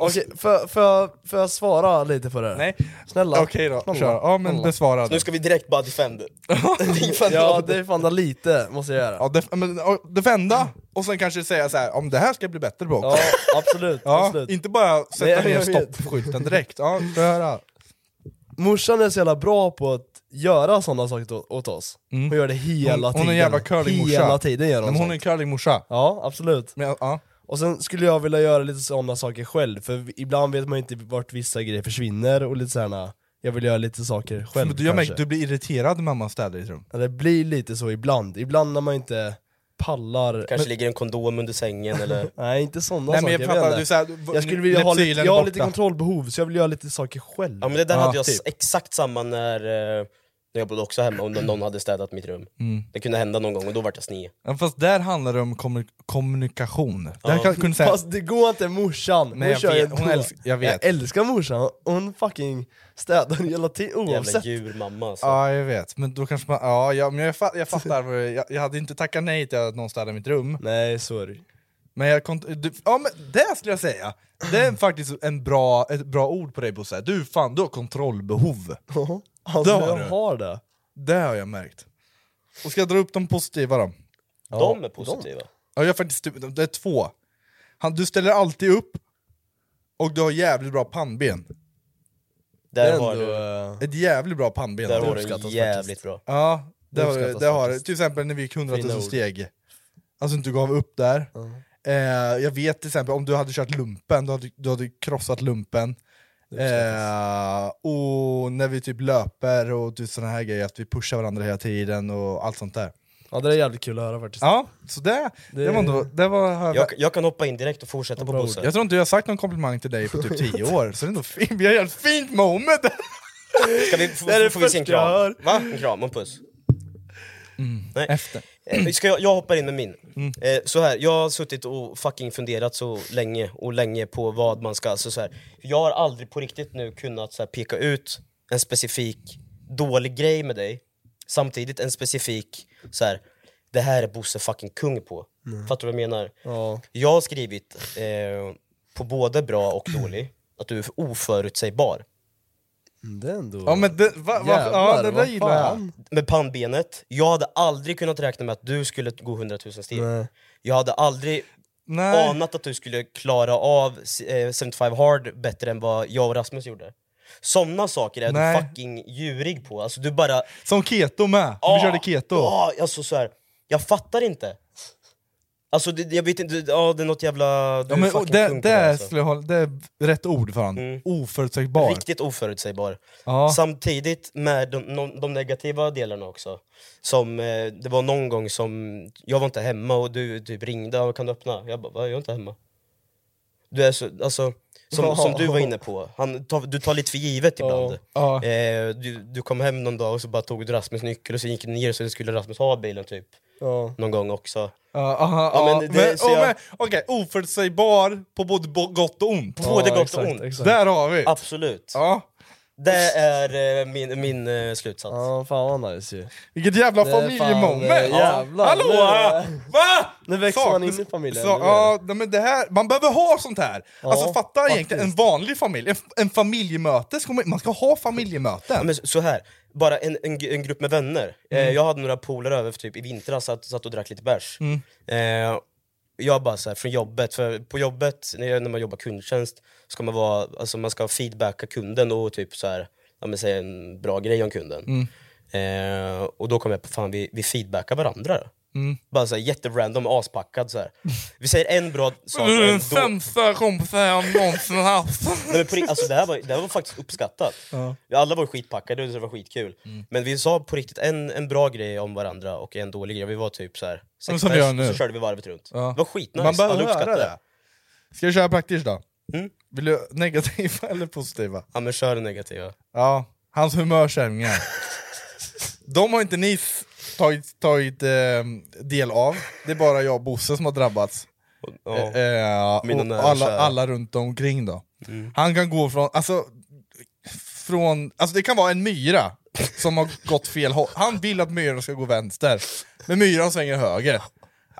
Okej, får får jag- får jag svara lite på det här? Nej. Snälla. Okej då, Snälla. kör. Ja men Snälla. besvara Nu det. ska vi direkt bara defend. Ja, det är fan där lite, måste jag göra. Ja, def- men, ja, defenda, och sen kanske säga så här, om det här ska jag bli bättre på också. Ja, absolut. Ja, absolut. inte bara sätta Nej, ner jag vet. stoppskylten direkt. Ja, får jag höra. Morsan är så jävla bra på att göra sådana saker åt- åt oss. Hon gör det hela Mm. Hon, tiden. hon är en jävla curlingmorsa. Hela tiden gör Nej, hon, men Hon är en sånt. curlingmorsa. Ja, absolut. Men, ja. Och sen skulle jag vilja göra lite sådana saker själv, för vi- ibland vet man inte vart vissa grejer försvinner och lite sådana jag vill göra lite saker själv Men du, jag kanske. märker, du blir irriterad när mamma städar ditt rum. Ja, Det blir lite så ibland, ibland när man inte pallar Kanske ligger en kondom under sängen eller... Nej inte sådana Nej, saker, men jag jag, fattar, vet inte. du är så här, du- jag skulle vilja ha lepsylen lite, är jag har borta. lite kontrollbehov så jag vill göra lite saker själv Ja men det där Ja, hade jag s- typ. exakt samma när, eh, när jag bodde också hemma, om någon hade städat mitt rum. Mm. Det kunde hända någon gång och då vart jag sned. Ja, Fast där handlar det om kommu- kommunikation. Där kan, kunde säga, Fast det går inte morsan, hon Nej, jag kör ju vet, hon ändå. älsk- jag vet. älskar morsan, hon fucking städar hela tiden Jävla oavsett djurmamma alltså. ja jag vet, men då kanske man, ja, jag, men jag, fa- jag fattar, vad du- jag, jag hade inte tackat nej till att någon städade mitt rum. Nej sorry Men jag kont- du, ja men det skulle jag säga, det är faktiskt en bra, ett bra ord på dig Bosse, du fan du har kontrollbehov. Alltså Det har jag du. har det Det har jag märkt. Och ska jag dra upp de positiva då? de är positiva. Ja, jag har faktiskt, typ- det är två. Han, du ställer alltid upp, och du har jävligt bra pannben. Där Ändå, har du... eh, Ett jävligt bra pannben. Där har var du. det uppskattas jävligt faktiskt. bra. Ja, det Det har, uppskattas det har faktiskt. Till exempel när vi gick 100 Fina 000 ord. steg. Alltså inte gav upp där. Eh, jag vet till exempel om du hade kört lumpen, du hade, du hade krossat lumpen. Eh, och när vi typ löper och du sådana här grejer, att vi pushar varandra hela tiden och allt sånt där. Ja det är jävligt kul att höra faktiskt. Ja, så det, det, var ändå... Det var, Jag, jag kan hoppa in direkt och fortsätta på bra bussen. jag tror inte jag har sagt någon komplimang till dig på typ 10 år, så det är ändå fint. Vi har ett fint moment! Ska vi, f- Det är det får vi se en första jag kram? hör. Va? En kram och en puss. Nej. Efter. Eh, Ska jag, jag hoppar in med min. Eh, så här, jag har suttit och fucking funderat så länge och länge på vad man ska... Alltså så här, jag har aldrig på riktigt nu kunnat så här, peka ut en specifik dålig grej med dig. Samtidigt en specifik... så här, Det här är Bosse fucking kung på. Mm. Fattar du vad jag menar? Ja. Jag har skrivit eh, på både bra och dålig att du är oförutsägbar. Det är ändå... Ja men det, va, va, ja, Jävlar, det där vad gillar jag. fan. med pannbenet, jag hade aldrig kunnat räkna med att du skulle gå 100 000 steg. Nej. Jag hade aldrig Nej. anat att du skulle klara av eh, 75 hard bättre än vad jag och Rasmus gjorde. Såna saker är Nej. du fucking djurig på. Alltså du bara... Som keto med, Ah, vi körde keto. ah, alltså, så här, jag fattar inte. Alltså det, jag vet inte, ja det är något jävla... Du Ja, är men, och fucking det, kung på det, det, är, alltså. skulle jag hålla, det är rätt ord för han. Oförutsägbar. Mm. Riktigt oförutsägbar. Ja. Samtidigt med de, no, de negativa delarna också. Som, eh, det var någon gång som jag var inte hemma och du typ ringde och kan du öppna? Jag bara, "Va? jag är inte hemma. Du är så, alltså, som, som du var inne på, Han, tar- du tar lite för givet ibland. Ja. Eh, du, du kom hem någon dag och så bara tog du Rasmus nyckel och så gick ni ner och så skulle Rasmus ha bilen typ. Ja. Någon gång också. Ja, aha, Ja, ja, men men, det- så oh, jag- men, Okej, oförutsägbar på både bo- gott och ont. Både Ja, gott exakt, och ont. exakt. Där har vi! Absolut. Ja. Det är eh, min, min eh, slutsats. Ja fan vad nice ju. Vilket jävla Det är fan, familjemoment! eh, Ja. jävlar, Hallå! ah, nu- Va? Nu växer Sak- man in i familjen, sa- nu är ja, nej, men det här, man behöver ha sånt här! alltså fatta faktiskt. egentligen en vanlig familj, en, en familjemöte, ska man, man ska ha Ja, familjemöten. men så- så här, bara en, en, gr- en grupp med vänner. Eh, jag hade några polare över för typ i vintras, satt, satt och drack lite bärs. Eh, jag bara så här, från jobbet, för på jobbet, när, jag, när man jobbar kundtjänst, ska man, vara, alltså man ska feedbacka kunden och typ så här, ja, men säga en bra grej om kunden. Eh, och då kom jag på, fan vi, vi feedbackar varandra. Bara såhär jätterandom, aspackad såhär. Vi säger en bra sak och en då- kompisen jag någonsin haft. Nej, men på, rikt- alltså, det, här var, det här var faktiskt uppskattat. Vi alla var skitpackade och det var skitkul. Mm. Men vi sa på riktigt en, en bra grej om varandra och en dålig grej. Vi var typ så här, Men sex som vi gör pers, och så nu. körde vi varvet runt. Ja. Det var skitnice, Man behöver alla höra uppskattade det. det. Ska vi köra praktiskt då? Mm. Vill du negativa eller positiva? Ja men kör det negativa. Ja, hans humörsämningar. De har inte ni f- tagit, tagit eh, del av, det är bara jag och Bosse som har drabbats. Ja. Eh, Mina nära och alla, kära. Mm. alla runt omkring då. Han kan gå från, alltså, från, alltså det kan vara en myra som har gått fel håll. Han vill att myran ska gå vänster, men myran svänger höger.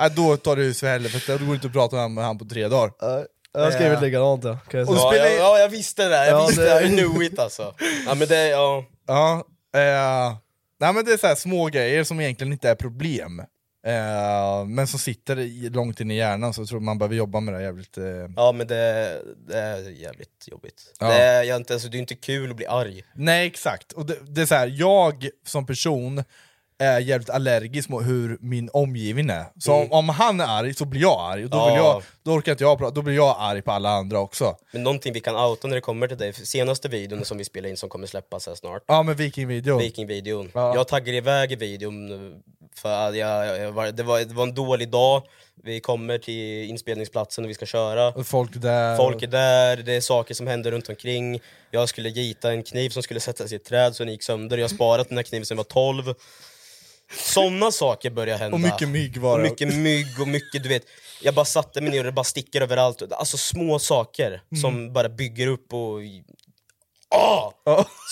Äh, då tar det ut för helvete, då går det inte att prata med han- med han på tre dagar. Ja, Jag har skrivit Eh. likadant ja, kan jag Och säga. Ja, spelar jag, in- ja jag visste det, där. jag Ja, visste det- det. I knew it alltså. Ja men det, ja. Ja, eh, nej men det är så här små grejer som egentligen inte är problem. Eh, men som sitter i, långt in i hjärnan så jag tror man behöver jobba med det jävligt... Eh, Ja men det, det är jävligt jobbigt. Ja. Det, är, jag inte, alltså, det är inte kul att bli arg. Nej exakt, och det, det är så här, jag som person är jävligt allergisk mot hur min omgivning är. Så om, om han är arg så blir jag arg, och då, Ja. vill jag, då orkar inte jag prata, då blir jag arg på alla andra också. Men någonting vi kan outa när det kommer till dig, senaste videon som vi spelar in som kommer släppas här snart. Ja men vikingvideon. Vikingvideon. Ja. Jag taggade iväg i videon nu, för att jag, jag var, det, var, det var en dålig dag, vi kommer till inspelningsplatsen och vi ska köra. Och folk där. Folk är där, det är saker som händer runt omkring. Jag skulle gita en kniv som skulle sättas i ett träd så den gick sönder, jag har sparat den här kniven sedan jag var 12. Sådana saker börjar hända. Och mycket mygg var Och det. mycket mygg och mycket, du vet. Jag bara satte mig ner och det bara sticker överallt. Alltså små saker Mm. som bara bygger upp och... Ah!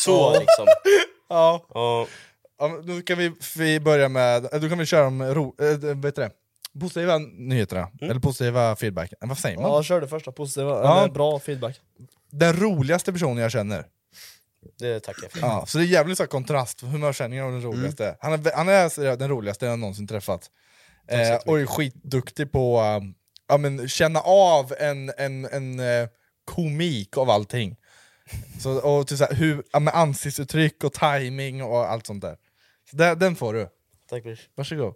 Så liksom. Ja. Ja. Ja, men då kan vi, vi börja med, eh, då kan vi köra om ro, äh, vad heter det? positiva nyheterna, eller positiva feedback. Eh, Vad säger man? Ja kör det första positiva, Ja. eller bra feedback. Den roligaste personen jag känner. Det tackar jag för. Ja, så det är jävligt så här kontrast, humörkänningar och den Mm. roligaste. Han är, vä- han är så där den roligaste jag någonsin träffat. Eh, och är skitduktig på att ja, men känna av en, en, en eh, komik av allting. Så, och typ så här, hur, ja, men ansiktsuttryck och timing och allt sånt där. Så där den får du, Tack Brish. varsågod.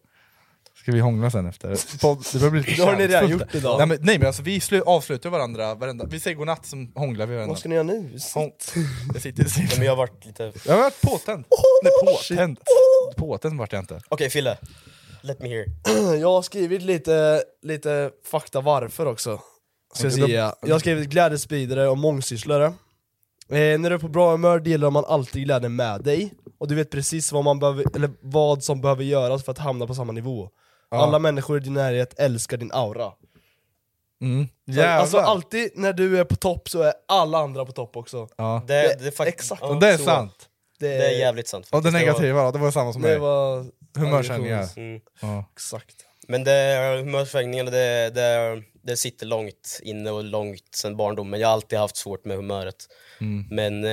Ska vi hångla sen efter? Podd- Det börjar bli lite Det har ni redan gjort kärleksfullt. idag. Nej men, nej, men alltså, vi slu- avslutar varandra varenda... Vi säger godnatt, sen hånglar vi varandra. Vad ska ni göra nu? Hång... Jag sitter... Jag, Ja, sitter. men jag har varit lite... Okej jag har varit påtänd. nej, påtänd. Påtänd vart jag inte. Fille, let me hear. Jag har skrivit lite, lite fakta varför också. Ska jag, Okej, då- säga. jag har skrivit glädjespridare och mångsysslare. Eh, när du är på bra humör delar man alltid glädjen med dig, och du vet precis vad, man behöver, eller vad som behöver göras för att hamna på samma nivå. Alla människor i din närhet älskar din aura. Mm. Så Jävlar! Alltså alltid när du är på topp så är alla andra på topp också. ja. Det, det, är fakt- exakt. ja, det är så. sant. Det, Det är jävligt sant. Och det faktiskt. var- negativa då, det var samma som Det mig. var... Humörsändningar. Mm. Ja. Exakt. Men det, humörsvängningarna, det, det, det sitter långt inne och långt sedan barndomen. Jag har alltid haft svårt med humöret. Men eh,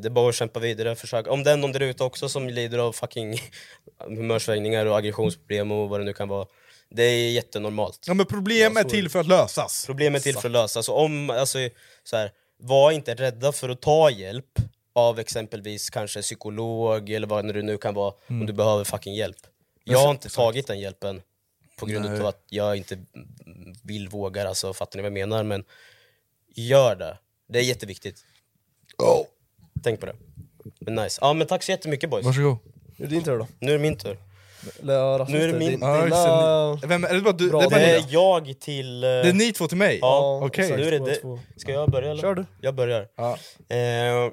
det är bara att kämpa vidare. Försöka. Om det är någon där ute också som lider av fucking humörsvängningar och aggressionsproblem och vad det nu kan vara. Det är jättenormalt. Ja men problem är så- till för att lösas. Problem är till för att lösa. Så om, alltså, så här, var inte rädda för att ta hjälp av exempelvis kanske en psykolog eller vad det nu kan vara Mm. om du behöver fucking hjälp. Jag har inte tagit den hjälpen på grund av att jag inte vill, vågar, alltså fattar ni vad jag menar? Men gör det. Det är jätteviktigt. Oh. Tänk på det. Men nice. Ja men tack så jättemycket boys. Varsågod. Nu är det din tur då. Nu är det min tur. Eller, ja, Rasmus, Nu är det min- din- Ja, just det. dina- Ni- Vem, är det bara du? Bra, det, är bara, Det ni- är jag till... eh, det är ni två till mig? Ja, Okej. så nu är det, Två, två. det. Ska jag börja eller? Kör du. Jag börjar. Ja. Eh,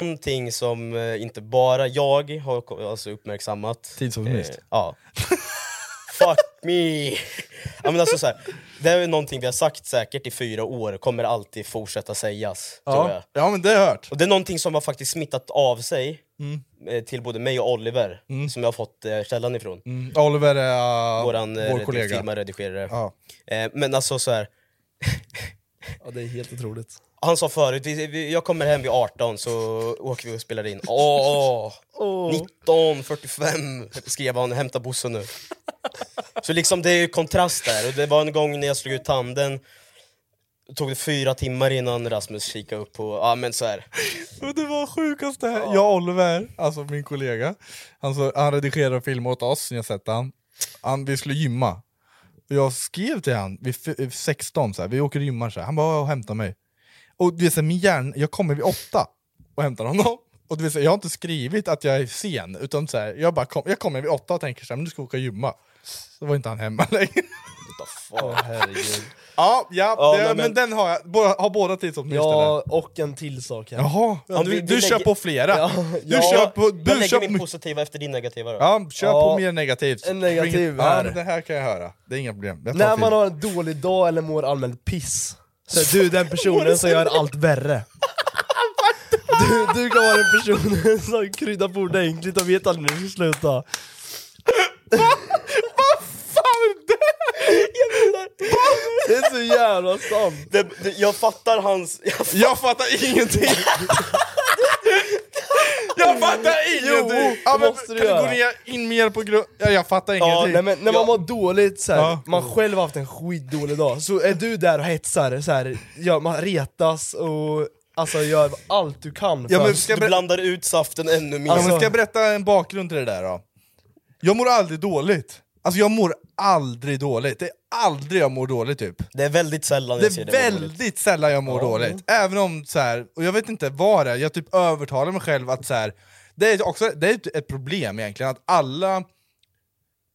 Någonting som eh, inte bara jag har ko- alltså uppmärksammat. Eh, Tidsoptimist. ja. Fuck me! ja, men alltså, så här, det är ju någonting vi har sagt säkert i fyra år, kommer alltid fortsätta sägas. Tror jag. Ja. ja men det har jag hört. Och det är någonting som har faktiskt smittat av sig Mm. eh, till både mig och Oliver, som jag har fått eh, källan ifrån. Mm. Oliver är uh, Våran eh, vår redi- kollega. filmare, redigerare. Ja. Eh, men alltså så här, Ja, det är helt otroligt. han sa förut, vi, vi, jag kommer hem vid 18 så åker vi och spelar in. Åh! 19.45 skrev han, hämta Bosse nu. Så liksom det är ju kontrast där, och det var en gång när jag slog ut tanden Tog det fyra timmar innan Rasmus kikade upp på, ja men så här. Och Det var sjukaste, jag och Oliver, alltså min kollega, han, så, han redigerade film åt oss, ni har sett han. han vi skulle gymma. Och jag skrev till han vid f- 16, så här, vi åker och gymmar, så här. han bara och hämtar mig. Och du vet, så här, min hjärna, jag kommer vid åtta och hämtar honom. Och du vet, så här, jag har inte skrivit att jag är sen, utan så här, jag, bara kom, jag kommer vid åtta och tänker så här, men nu ska jag åka och gymma. Så var inte han hemma längre. Åh herregud. Ja, ja, Ja, det, nej, men, men- den har jag. Båda, har båda tidsoptimister där? Ja, och en till sak här. Jaha, Ja, du, vi- vi du kör lägger- på flera. Ja, du ja. kör på... Jag Du kör lägger på min positiva efter din negativa då. Ja, kör Ja, på mer negativt. en negativ Bring it- Ja, här. men det här kan jag höra. Det är inga problem. Jag tar När man film. har en dålig dag eller mår allmänt piss, så är du den personen som gör allt värre. Du, du kan vara den personen som kryddar på ordentligt och vet aldrig när du ska sluta. Det är så jävla sant! Det, det, jag fattar hans... Jag Jag fattar ingenting! jag fattar ingenting! ja, men, måste du kan göra. du gå ner, in mer på grund... Ja, jag fattar Ja, ingenting. nej, men när man Ja. mår dåligt, så här, typ. Ja. man själv har haft en skitdålig dag, så är du där och hetsar, så här, ja, man retas och alltså, gör allt du kan för Ja, men att- ska jag du ber- blandar ut saften ännu mer. ja, men ska alltså- jag berätta en bakgrund till det där då? Jag mår aldrig dåligt. Alltså jag mår aldrig dåligt. Det är aldrig jag mår dåligt typ. Det är väldigt sällan jag Det ser är det. väldigt sällan jag mår dåligt. Även om så här, och jag vet inte vad det är, jag typ övertalar mig själv att så här, Det är också det är typ ett- ett problem egentligen, att alla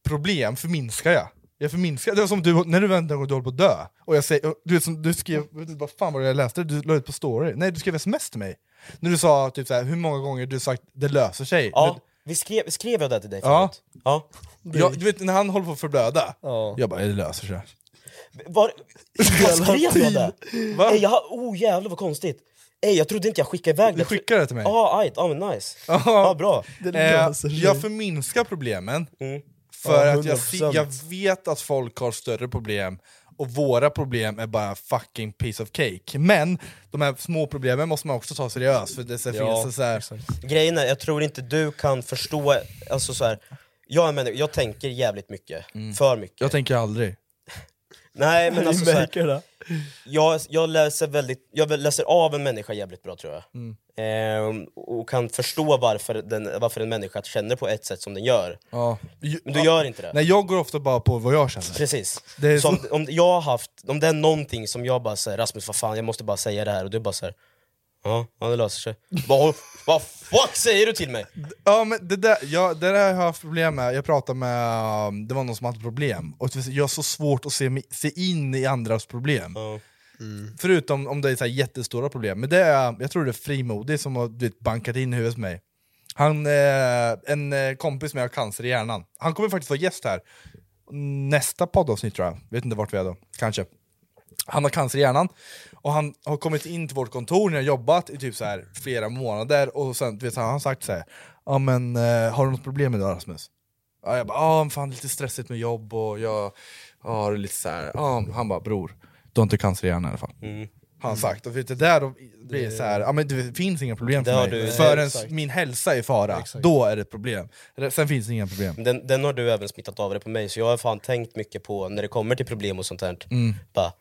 problem förminskar jag. Jag förminskar, det var som du, när du väntade och du höll på att dö, och jag säger, och du, vet, som, du skrev, jag vet inte vad fan var det jag läste, du la ut på story, nej du skrev sms till mig. När du sa typ så här, hur många gånger du sagt det löser sig. Ja, vi skrev, skrev jag det till dig Ja. förut? Ja. Men, jag, du vet när han håller på att förblöda, Ja. jag bara det löser sig. Var, vad skrev jag det? Va? Ey, jag, har- oh jävlar vad konstigt. Ey, jag trodde inte jag skickade iväg Du det. skickade det till mig. Ja, ajt, ja men nice. Ja. Ja, bra. Eh, löser sig. jag förminskar problemen, Mm. för Ja, att jag, se- 100%. jag vet att folk har större problem, och våra problem är bara fucking piece of cake. Men de här små problemen måste man också ta seriöst, för det så finns det så här, Grejen är, jag tror inte du kan förstå, alltså så här, jag är en människa, jag tänker jävligt mycket. Mm. För mycket. Jag tänker aldrig. Nej men alltså så här, märker det. jag, jag, läser väldigt, jag läser av en människa jävligt bra tror jag. Mm. Ehm, och kan förstå varför, den, varför en människa känner på ett sätt som den gör. Ja. Men du gör inte det. Nej, jag går ofta bara på vad jag känner. Precis. Det är Så om, så- om jag har haft, om det är någonting som jag bara säger Rasmus vad fan jag måste bara säga det här och du bara säger ja, ja det löser sig. Vad vad fuck säger du till mig? Ja, men det där, jag, det där har jag haft problem med, jag pratade med, um, det var någon som hade problem, och jag har så svårt att se, mig- se in i andras problem. Ja. Förutom om det är så här jättestora problem, men det är, jag tror det är frimodig som har du vet, bankat in i huvudet på mig. Han, eh, en eh, kompis med har cancer i hjärnan, han kommer faktiskt vara gäst här nästa poddavsnitt tror jag, vet inte vart vi är då, kanske. Han har cancer i hjärnan, och han har kommit in till vårt kontor när jag jobbat i typ så här flera månader, och sen du vet, så har han sagt så här, ja men eh, har du något problem idag Rasmus? Ja, jag bara, ja fan lite stressigt med jobb och jag ja, har lite så här. Ja, han bara, bror, du har inte cancer i hjärnan i alla fall. Mm. Har Han sagt, och vet du, där då blir det så här, ja, men det finns inga problem Det för har mig du- förrän Exakt. min hälsa är i fara, då är det ett problem. Sen finns det inga problem. Den, den har du även smittat av dig på mig så jag har fan tänkt mycket på när det kommer till problem och sånt här. Mm. Bara,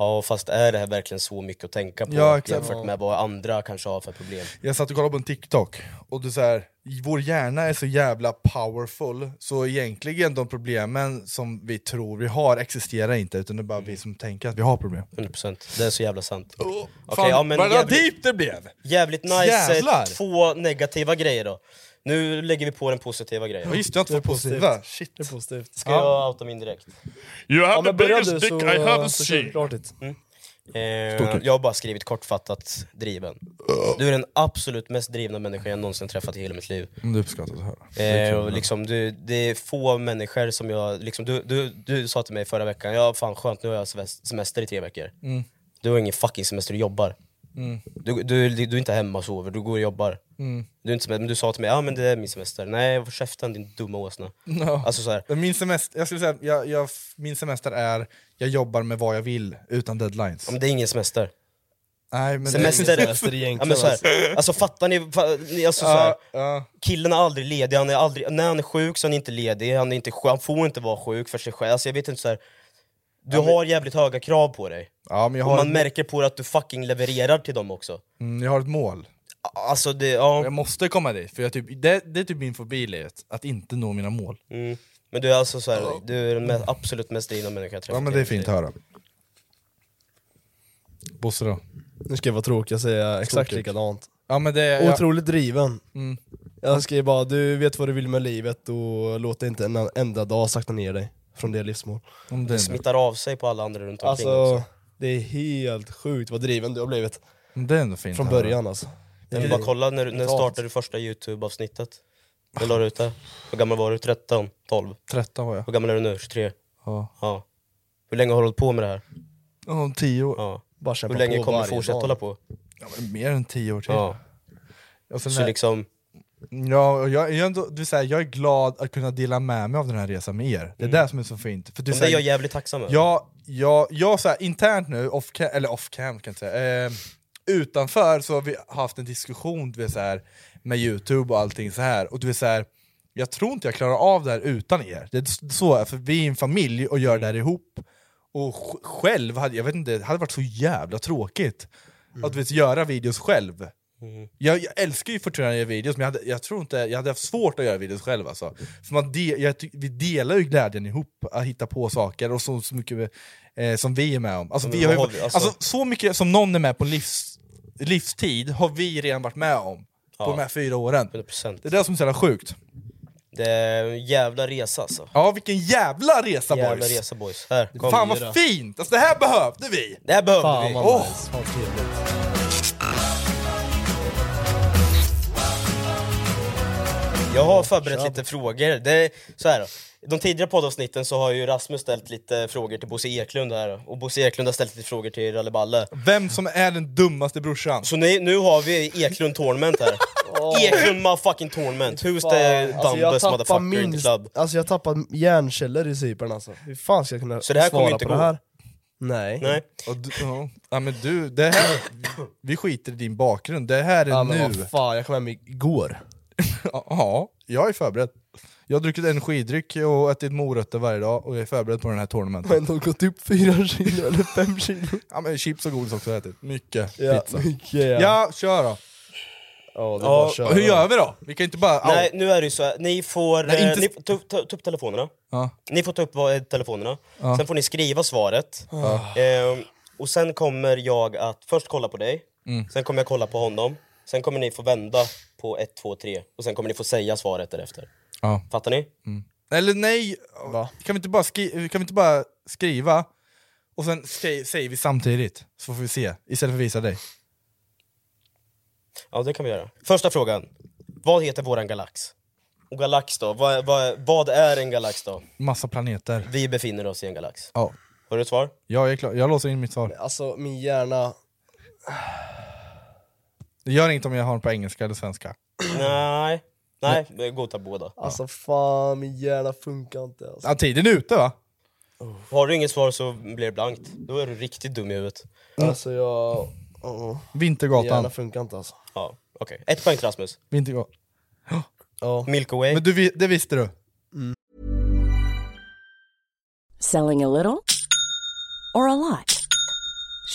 ja fast är det här verkligen så mycket att tänka på Ja, exakt. jämfört med vad andra kanske har för problem? Jag satt och kollade på en TikTok, och du säger vår hjärna är så jävla powerful, så egentligen de problemen som vi tror vi har existerar inte, utan det är bara vi som tänker att vi har problem. 100%, det är så jävla sant. Oh, Fan, ja, men vad jävligt- deep det blev! Jävligt nice, Jävlar! eh, två negativa grejer då. Nu lägger vi på den positiva Ja, grejen. just det, jag har inte fått positiva. Shit. Det är positivt. Ska jag outa min direkt? You have Ja, men börjar du så, så kör vi klart det. Mm. Eh, jag har bara skrivit kortfattat driven. Du är den absolut mest drivna människan jag någonsin träffat i hela mitt liv. Om du uppskattar att höra. Eh, och liksom, du, det är få människor som jag... Liksom, du, du, du sa till mig förra veckan, ja fan skönt nu har jag semes- semester i tre veckor. Du har ingen fucking semester, du jobbar. Du, du, du är inte hemma och sover, du går och jobbar. Du, är inte, semester- men du sa till mig, ja men det är min semester. Nej, håll käften din dumma åsna. Alltså, så här, Min semester, jag skulle säga, jag, jag, min semester är, jag jobbar med vad jag vill utan deadlines. ja, men det är ingen semester. Nej, men det- Semester är semester egentligen, Ja, men så här, alltså fattar ni? fa- ni- Alltså, så här, Ja, ja. killen är aldrig ledig, han är aldrig, när han är sjuk så är han inte ledig, han, är inte, sj- han får inte vara sjuk för sig själv. Alltså, jag vet inte, så här, du har jävligt höga krav på dig. ja, men Mm, jag Och har, man märker på dig att du fucking levererar till dem också. mm, jag har ett mål. Alltså det, ja. Jag måste komma dit, för jag typ, det, det är typ min fobi i livet, att inte nå mina mål. Mm. Men du är alltså så här, du är den mest, absolut mest drivna människa jag träffat. Ja men i det är mitt fint liv. att höra. Bosse då? Nu ska jag vara tråkig och säga exakt Tråkigt. likadant. Ja men det är... Ja, Otroligt driven. Mm. Jag skrev bara, du vet vad du vill med livet och låt inte en enda dag sakta ner dig från det livsmål. om det, Det smittar av sig på alla andra runt omkring också. Alltså, det är helt sjukt vad driven du har blivit det är ändå fint från att höra. början alltså. Jag vill bara kolla, när, när startade du första youtube-avsnittet? När la du ut det? Hur gammal var du? 13? 12? 13 var jag. Hur gammal är du nu? 23? Ja. Ja. Hur länge har du hållit på med det här? Om 10 år. Ja. Bara kämpa Hur länge på kommer du varje fortsätta dag. hålla på? Ja, men mer än 10 år till. Ja. Och sen Så är, liksom, ja, och jag, jag, är ändå, du säger, jag är glad att kunna dela med mig av den här resan med er. Det är det som är så fint. För du, Mm. det är säger, jag jävligt tacksam över. Jag, jag, jag så här, internt nu, off cam, eller off cam kan jag inte säga, eh, utanför så har vi haft en diskussion du vet, så här, med youtube och allting så här. och du vet, så här, jag tror inte jag klarar av det här utan er. Det är s- så, här, för vi är en familj och gör det här ihop. Och sj- själv, hade, jag vet inte, det hade varit så jävla tråkigt Mm. att du vet, göra videos själv. Jag, jag älskar ju fortfarande att göra videos, men jag, hade, jag tror inte jag hade haft svårt att göra videos själv. Alltså. För man de, jag, ty- vi delar ju glädjen ihop, att hitta på saker och så, så mycket eh, som vi är med om. Alltså, Mm, Men vi har ju, vad har vi- alltså, alltså- så mycket som någon är med på livs, livstid har vi redan varit med om. på de här fyra åren. 100%. Det är det som är så jävla sjukt. Det är en jävla resa alltså. Ja, vilken jävla resa Jävla boys! resa boys. Här, kom. Fan vad fint! Alltså, det här behövde vi! Det här behövde Fan vi. vad Åh. nice, fan vad trevligt. Jag har förberett lite frågor. Det är så här, de tidigare poddavsnitten så har ju Rasmus ställt lite frågor till Bosse Eklund här och Bosse Eklund har ställt lite frågor till Ralle Balle. Vem som är den dummaste brorsan. Så nu, nu har vi Eklund Tournament här. Eklund motherfucking Tournament. Who's the Fan, alltså, jag dumbest tappar motherfucker in the minst, club? alltså jag tappar hjärnceller i Cypern alltså. Hur fan ska jag kunna Så det här kommer svara inte på gå? det här? Nej. Nej. Och du, ja. ja, men du, det här, vi skiter i din bakgrund, det här är Ja, men nu. vad fan, jag kom hem igår. Ja, jag är förberedd. Jag har druckit energidryck och ätit morötter varje dag och jag är förberedd på den här tournamenten. Men de har gått upp fyra kilo eller fem kilo. Ja, men chips och godis också har jag ätit. Mycket Ja, pizza. mycket, ja. Ja, kör då. Ja, det är bara Ja, att köra. hur gör vi då? Vi kan inte bara... Nej, nu är det ju så här. Ni får, Nej, eh, inte- ni får ta, upp- ta, ta upp telefonerna. Ja. Ni får ta upp eh, telefonerna. Sen får ni skriva svaret. Ehm, och sen kommer jag att först kolla på dig, Mm. sen kommer jag kolla på honom. Sen kommer ni få vända på ett, två, tre. och sen kommer ni få säga svaret därefter. Ja. Fattar ni? Eller nej, kan vi, inte bara skri- kan vi inte bara skriva och sen skri- säger vi samtidigt? Så får vi se, istället för att visa dig. Ja, det kan vi göra. Första frågan. Vad heter våran galax? Och galax då? Vad, vad, vad är en galax då? Massa planeter. Vi befinner oss i en galax. Ja, Har du ett svar? jag är klar. Jag låser in mitt svar. Alltså min hjärna, Det gör inget om jag har den på engelska eller svenska. Nej. Nej, jag godtar båda. alltså fan min hjärna funkar inte alltså. Ja, tiden är ute va? Har du inget svar så blir det blankt. Då är du riktigt dum i huvudet. Alltså jag, oh, min hjärna Vintergatan. funkar inte alltså. Ja, okej. Ett poäng till Rasmus. Vintergatan. Ja. Milky Way. Men du, vi- det visste du? Selling a little or a lot?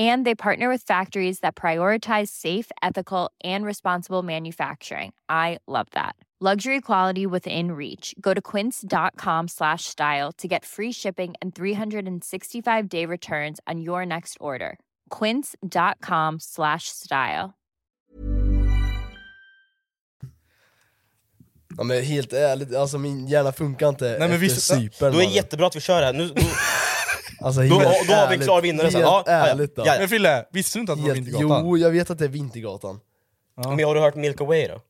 And they partner with factories that prioritize safe, ethical, and responsible manufacturing. I love that. Luxury quality within reach. Go to quince.com slash style to get free shipping and 365 day returns on your next order. Quince.com slash style. ja men helt ärligt, alltså min hjärna funkar inte men efter visst- Cypern. Då är det mannen. jättebra att vi kör här. Nu, nu, alltså, då, helt då har vi en ärligt, klar vinnare sen. Helt Ja, ja, ja. ärligt då. Ja, ja. Men Fille, visste du inte att det var Helt, Vintergatan? jo, jag vet att det är Vintergatan. Men har du hört Milky Way då? The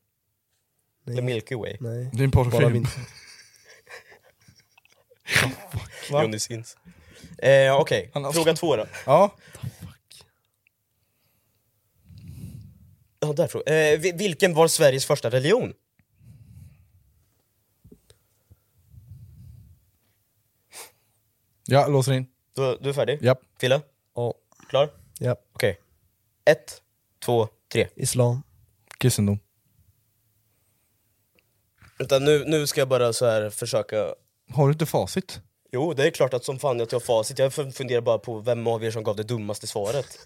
Nej. Milky Way. Nej. Det är en Bara porrfilm. min... Va? Johnny Sins. Eh, Okej, Han har- fråga två då. Ja. Ja, där fråga. Eh, vi- vilken var Sveriges första religion? Jag låser in. Du, du är färdig? Japp. Fille? Ja, Klar? ja. Okej. Ett, två, tre. Islam. Kristendom. Vänta, nu, nu ska jag bara så här försöka... Har du inte facit? Jo, det är klart att som fan att jag har facit. Jag fun- funderar bara på vem av er som gav det dummaste svaret.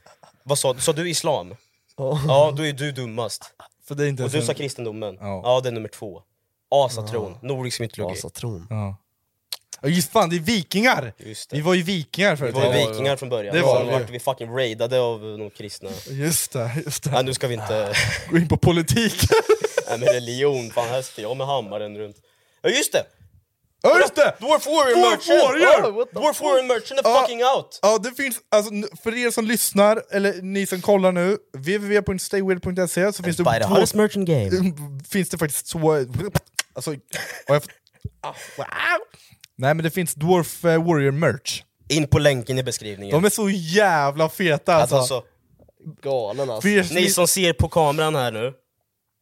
Vad sa du? Sa du islam? Ja, då är du dummast. För det är inte Och ens du en- sa kristendomen. Alltså, Ja. Ja, det är nummer två. Asatron, nordisk mytologi. Asatron. Ja. Ja, just fan, det är vikingar! Just det. Vi var ju vikingar Vi förut. var ju vikingar från början, Det det var sen vi. vart vi fucking raidade av någon kristna. Just det, just Nej det. nu ska vi inte... Gå in på politik. Nej men religion, fan här sitter jag med hammaren runt. Ja just det! ja, just det! Dwarf Warrior Dwarf Merchant! Warrior! Oh, what the Dwarf Warrior Merchant är Ja. fucking out! Ja, det finns, alltså, n- för er som lyssnar, eller ni som kollar nu, www.stayweird.se så finns det, By the två, hottest merchant game. finns det faktiskt två... Alltså, har jag fått Ah, wow. Nej men det finns Dwarf eh, Warrior merch. In på länken i beskrivningen. De är så jävla feta Alltså, alltså. alltså, Galen alltså. För er som, ni som ser på kameran här nu,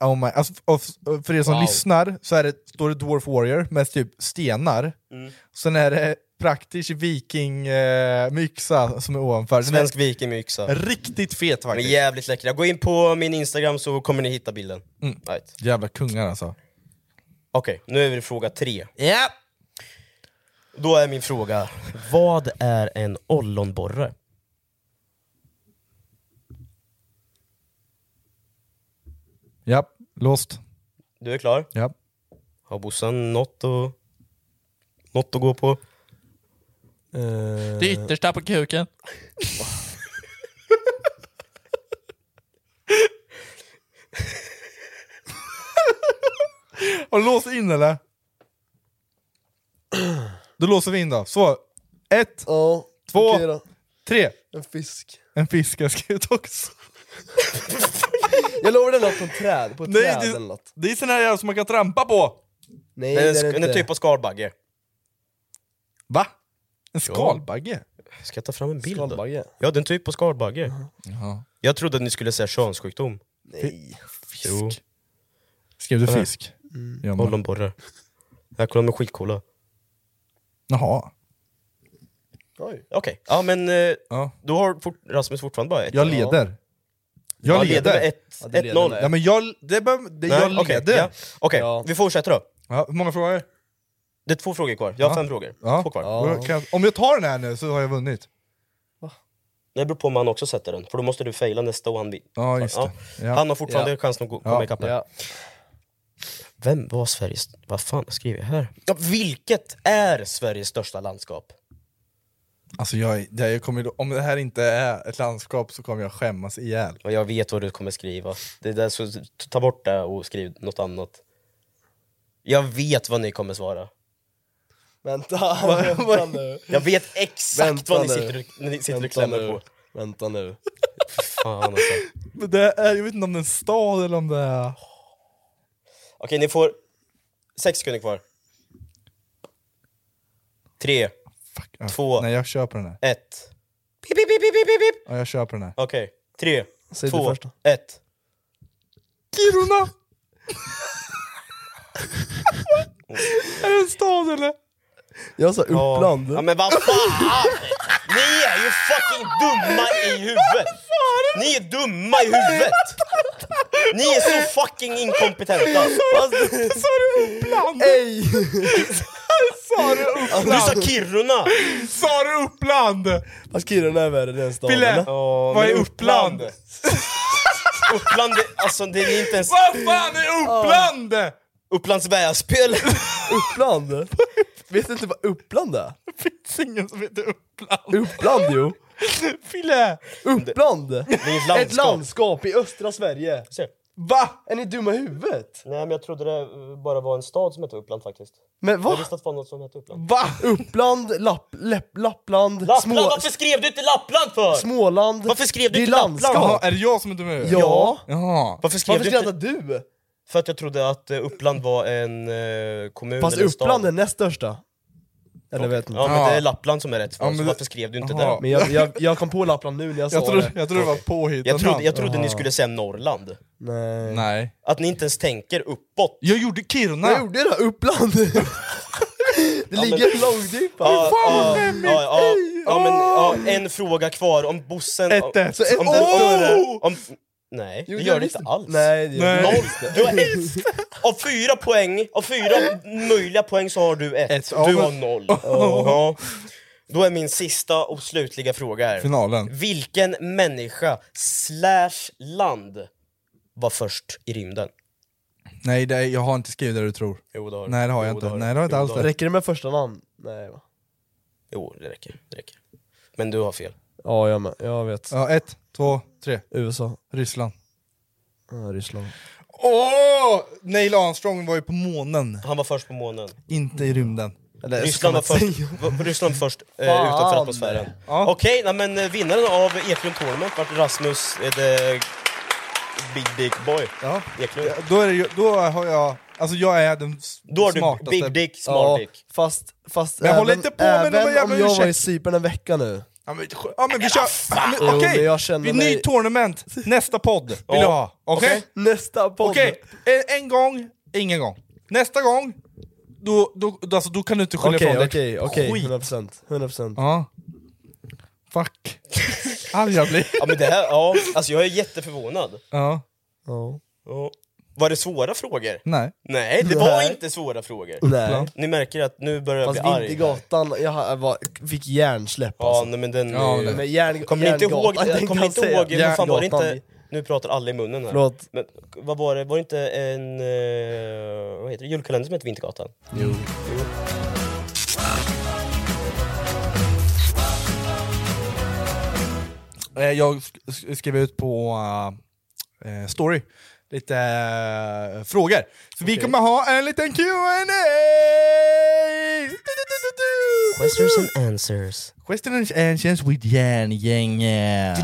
oh my, alltså, och f- för er som Wow. lyssnar så är det, står det Dwarf Warrior med typ stenar. Mm. Sen är det praktisk vikingmyxa eh, myxa som är ovanför. Den är svensk vikingmyxa. riktigt fet De är faktiskt. jävligt läckra. Gå in på min Instagram så kommer ni hitta bilden. Mm. Right. Jävla kungar alltså. Okej, nu är vi i fråga tre. Ja. Då är min fråga, vad är en ollonborre? Ja, låst. Du är klar? Ja. Har Bossan något att, något att gå på? Eh, Det yttersta på kuken. Har du låst in eller? Då låser vi in då. Så, ett, ja, Två. okej då. tre. En fisk. En fisk jag skrivit också. Jag lovar den låg på ett träd, på ett Nej, träd det- eller något. Det är sån här jävla som man kan trampa på. Nej Det det är är det en, inte. en typ av skalbagge. Va? En skalbagge? Ska jag ta fram en bild? då? Skalbagge. Ja, det är en typ av skalbagge. Jag trodde att ni skulle säga könssjukdom. Nej. Fisk. Jo, Skrev du fisk? Ja, men- ollonborre. Här, kolla de är skitcoola. Jaha. Oj. Okej, ja men eh, Ja. då har fort, Rasmus fortfarande bara ett. Jag leder. Jag Han leder. med Ja, ett- du leder 1-0. med Ja, men jag, det behöver, det, Nej, jag okej, leder. ja. Okej, Ja. vi fortsätter då. Ja, hur många frågor? Det är två frågor kvar. Jag Ja. har fem frågor. Ja. Två kvar. Då Kan, om jag tar den här nu så har jag vunnit. Det beror på om han också sätter den, för då måste du faila nästa och han vinner. Ja, just det. Ja. Han har fortfarande Ja. chansen att gå- komma Ja. ikapp här. Ja. Vem var Sveriges... Vad fan skriver jag här? Ja, vilket är Sveriges största landskap? Alltså jag, det här, jag kommer, om det här inte är ett landskap så kommer jag skämmas ihjäl. Och jag vet vad du kommer skriva. Det där, så ta bort det och skriv något annat. Jag vet vad ni kommer svara. Vänta, vänta nu. Jag vet exakt Vänta vad ni nu. sitter, och- ni sitter Vänta och klämmer nu. på. Vänta nu. Fan alltså. Men det är, jag vet inte om det är en stad eller om det är... Okej, ni får sex sekunder kvar. Tre, Fuck, ja. Två. Nej jag köper den här. ett... Pip, pip, pip, pip, pip, pip. Ja, jag köper den här. Okej, tre, Säg du två, först ett. Kiruna! är det en stad eller? Jag sa Ja. Uppland. Ja, men vad fan! Ni är ju fucking dumma i huvudet! Ni är dumma i huvudet! Ni är så fucking inkompetenta! Sa du Uppland? Ey! Sa du Uppland? Du sa Kiruna! Sa du Uppland? Fast Kiruna är värre, det är en stad Pille! eller? Ja, Vad men är Uppland? Uppland, det- alltså det är inte ens... Vad fan är Uppland? Upplands Väsby eller? Uppland? Vet du inte vad Uppland är? Det finns ingen som heter Uppland. Uppland jo! Fille! Uppland! Det är ett Ett landskap i östra Sverige! Se. Va? Är ni dumma i huvudet? Nej men jag trodde det eh, bara var en stad som hette Uppland faktiskt. Men Jag va? visste att det var något som hette Uppland. Va? Uppland, Lapp, Läpp, Lappland, Lappland, Små, varför skrev du inte Lappland för? Småland... Varför skrev Det du är inte Lappland? landskap. Jaha, är det jag som är dum i huvudet? Ja! Jaha. Varför skrev Varför du inte... skrattar du? För att jag trodde att eh, Uppland var en eh, kommun Fast eller en stad. Uppland är näst största. Eller vet ni? Ja men Ja. det är Lappland som är rätt svar, Ja, men så det- varför skrev du inte Jaha. det? Men jag, jag, jag kom på Lappland nu när jag sa Jag trodde, det. jag trodde det var ett påhittat Jag trodde, namn. jag trodde ni skulle säga Norrland. Nej. Nej. Att ni inte ens tänker uppåt. Jag gjorde Kiruna! Jag gjorde det, Uppland! det ligger långt upp. Ja, ja, ja, ja, ja, men, Åh! ja, en fråga kvar, om bossen... Ett, om- ett. Så ett- om den- om den- Åh! om- Nej, det Jo, gör det visst. inte alls. Nej, det gör Nej. det Noll. inte. Du har ett. Av fyra poäng, av fyra möjliga poäng så har du ett. Ett, ja, Du men- har noll. Ja. Då är min sista och slutliga fråga här. Finalen. Vilken människa slash land var först i rymden? Nej, det är, jag har inte skrivit det du tror. Jo, det har du. Nej, det har jag Jo, inte. du. Nej, det har jag inte Jo, alls. du Räcker det med första namn? Nej va? Jo, det räcker. det räcker. Men du har fel. Ja, jag med. Jag vet. Ja, ett, två, tre. USA. Ryssland. Ja, Ryssland. Åh! Neil Armstrong var ju på månen, Han var först på månen. inte i rymden. Eller, Ryssland var först, var- Ryssland var först eh, utanför atmosfären. Ja. Okej, nej, men eh, vinnaren av Eklund Tournament vart Rasmus eh, the Big Dick Boy. Ja. Eklund. Då, är det, ju- då har jag Alltså jag är den s- Då har du smartaste. big dick, small dick. Fast, fast Men håll även, inte på med även de här om jävla jag var i ursäkt- Cypern en vecka nu. Ja men, skö- ja, men vi kör... men Jo, Okej, men jag känner vi mig- ny tournament, nästa podd vill jag ha. Okej? Nästa podd! Okej, en, en gång, ingen gång. Nästa gång, då, då, då, alltså, då kan du inte skylla Okej, ifrån okej, okej, Skit. 100%. 100%. Ja. Fuck. Arg jag blir. Ja, men det här, ja, alltså jag är jätteförvånad. Ja. Ja. Ja. Var det svåra frågor? Nej. Nej, det var inte svåra frågor. Nej. Ni märker att nu börjar jag Fast bli arg. här. Vintergatan, jag har- jag var, fick hjärnsläpp Ja, alltså. nej, men den... Ja, är- men- Men järn, Kommer ni inte ihåg, järngatan, jag kommer ni kan inte säga ihåg, vad fan var det järngatan. inte, nu pratar alla i munnen här. Förlåt. Men vad var det, var det inte en, eh, vad heter det, julkalender som hette Vintergatan? Eh, Jag sk- sk- skrev ut på eh, story lite eh, frågor. Så vi kommer ha en liten Q&A! Du, du, du, du, du. Questions and answers. Questions and answers with järngänget.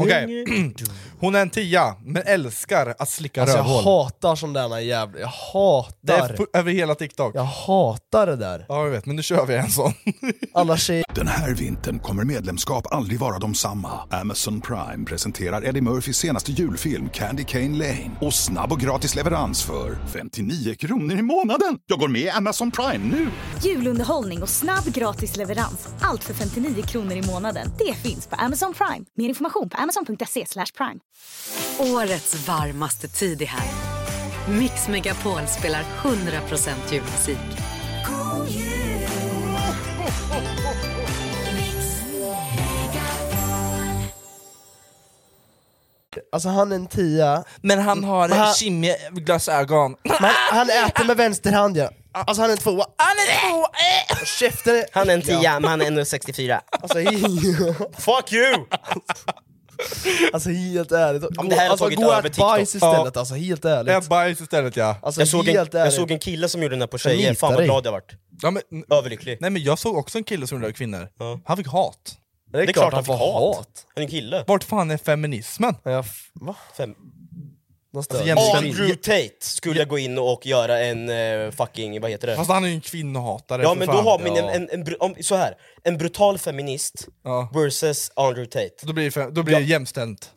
Okej. Hon är en tia, men älskar att slicka Alltså jag rövhål. hatar sån där jävla, jag det är hatar, fu- över hela TikTok. jag hatar det där. Ja, jag vet, men nu kör vi en sån. Alla tjejer Den här vintern kommer medlemskap aldrig vara de samma. Amazon Prime presenterar Eddie Murphys senaste julfilm Candy Cane Lane. Och snabb och gratis leverans för 59 kronor i månaden. Jag går med i Amazon Prime nu! Julunderhållning och snabb gratis leverans. Allt för 59 kronor i månaden. Det finns på Amazon Prime. Mer information på amazon.se slash prime. Årets varmaste tid är här. Mix Megapol spelar 100% julmusik. Alltså han är en tia, Men Mm. han har Men han- chimmiglasögon. men han, han äter med vänster hand ja. Alltså han är en tvåa, Han är två! käften är... Han är en tia, men han är 1,64. Alltså, he- Fuck you! alltså helt ärligt, men det här har alltså, tagit gå och över ät bajs TikTok. istället alltså, helt ärligt. Ät bajs istället ja. Alltså Jag såg, en, helt ärligt. jag såg en kille som gjorde den här på Jag tjejer, nitar fan vad dig. glad jag vart. ja men, Överlycklig. nej men jag såg också en kille som rörde kvinnor. Ja. Han fick hat. Det är klart han fick hat. Han är en kille. Vart fan är feminismen? Ja, f- va? Fem. Någon stör. Alltså, Andrew jämställdhet. Tate skulle jag gå in och göra en eh, fucking, vad heter det? Fast han är ju en kvinnohatare Ja för men då fan. har man en, Ja. en, en, bru- om, så här en brutal feminist Ja. versus Andrew Tate. Då blir det, fem, då blir det jämställt.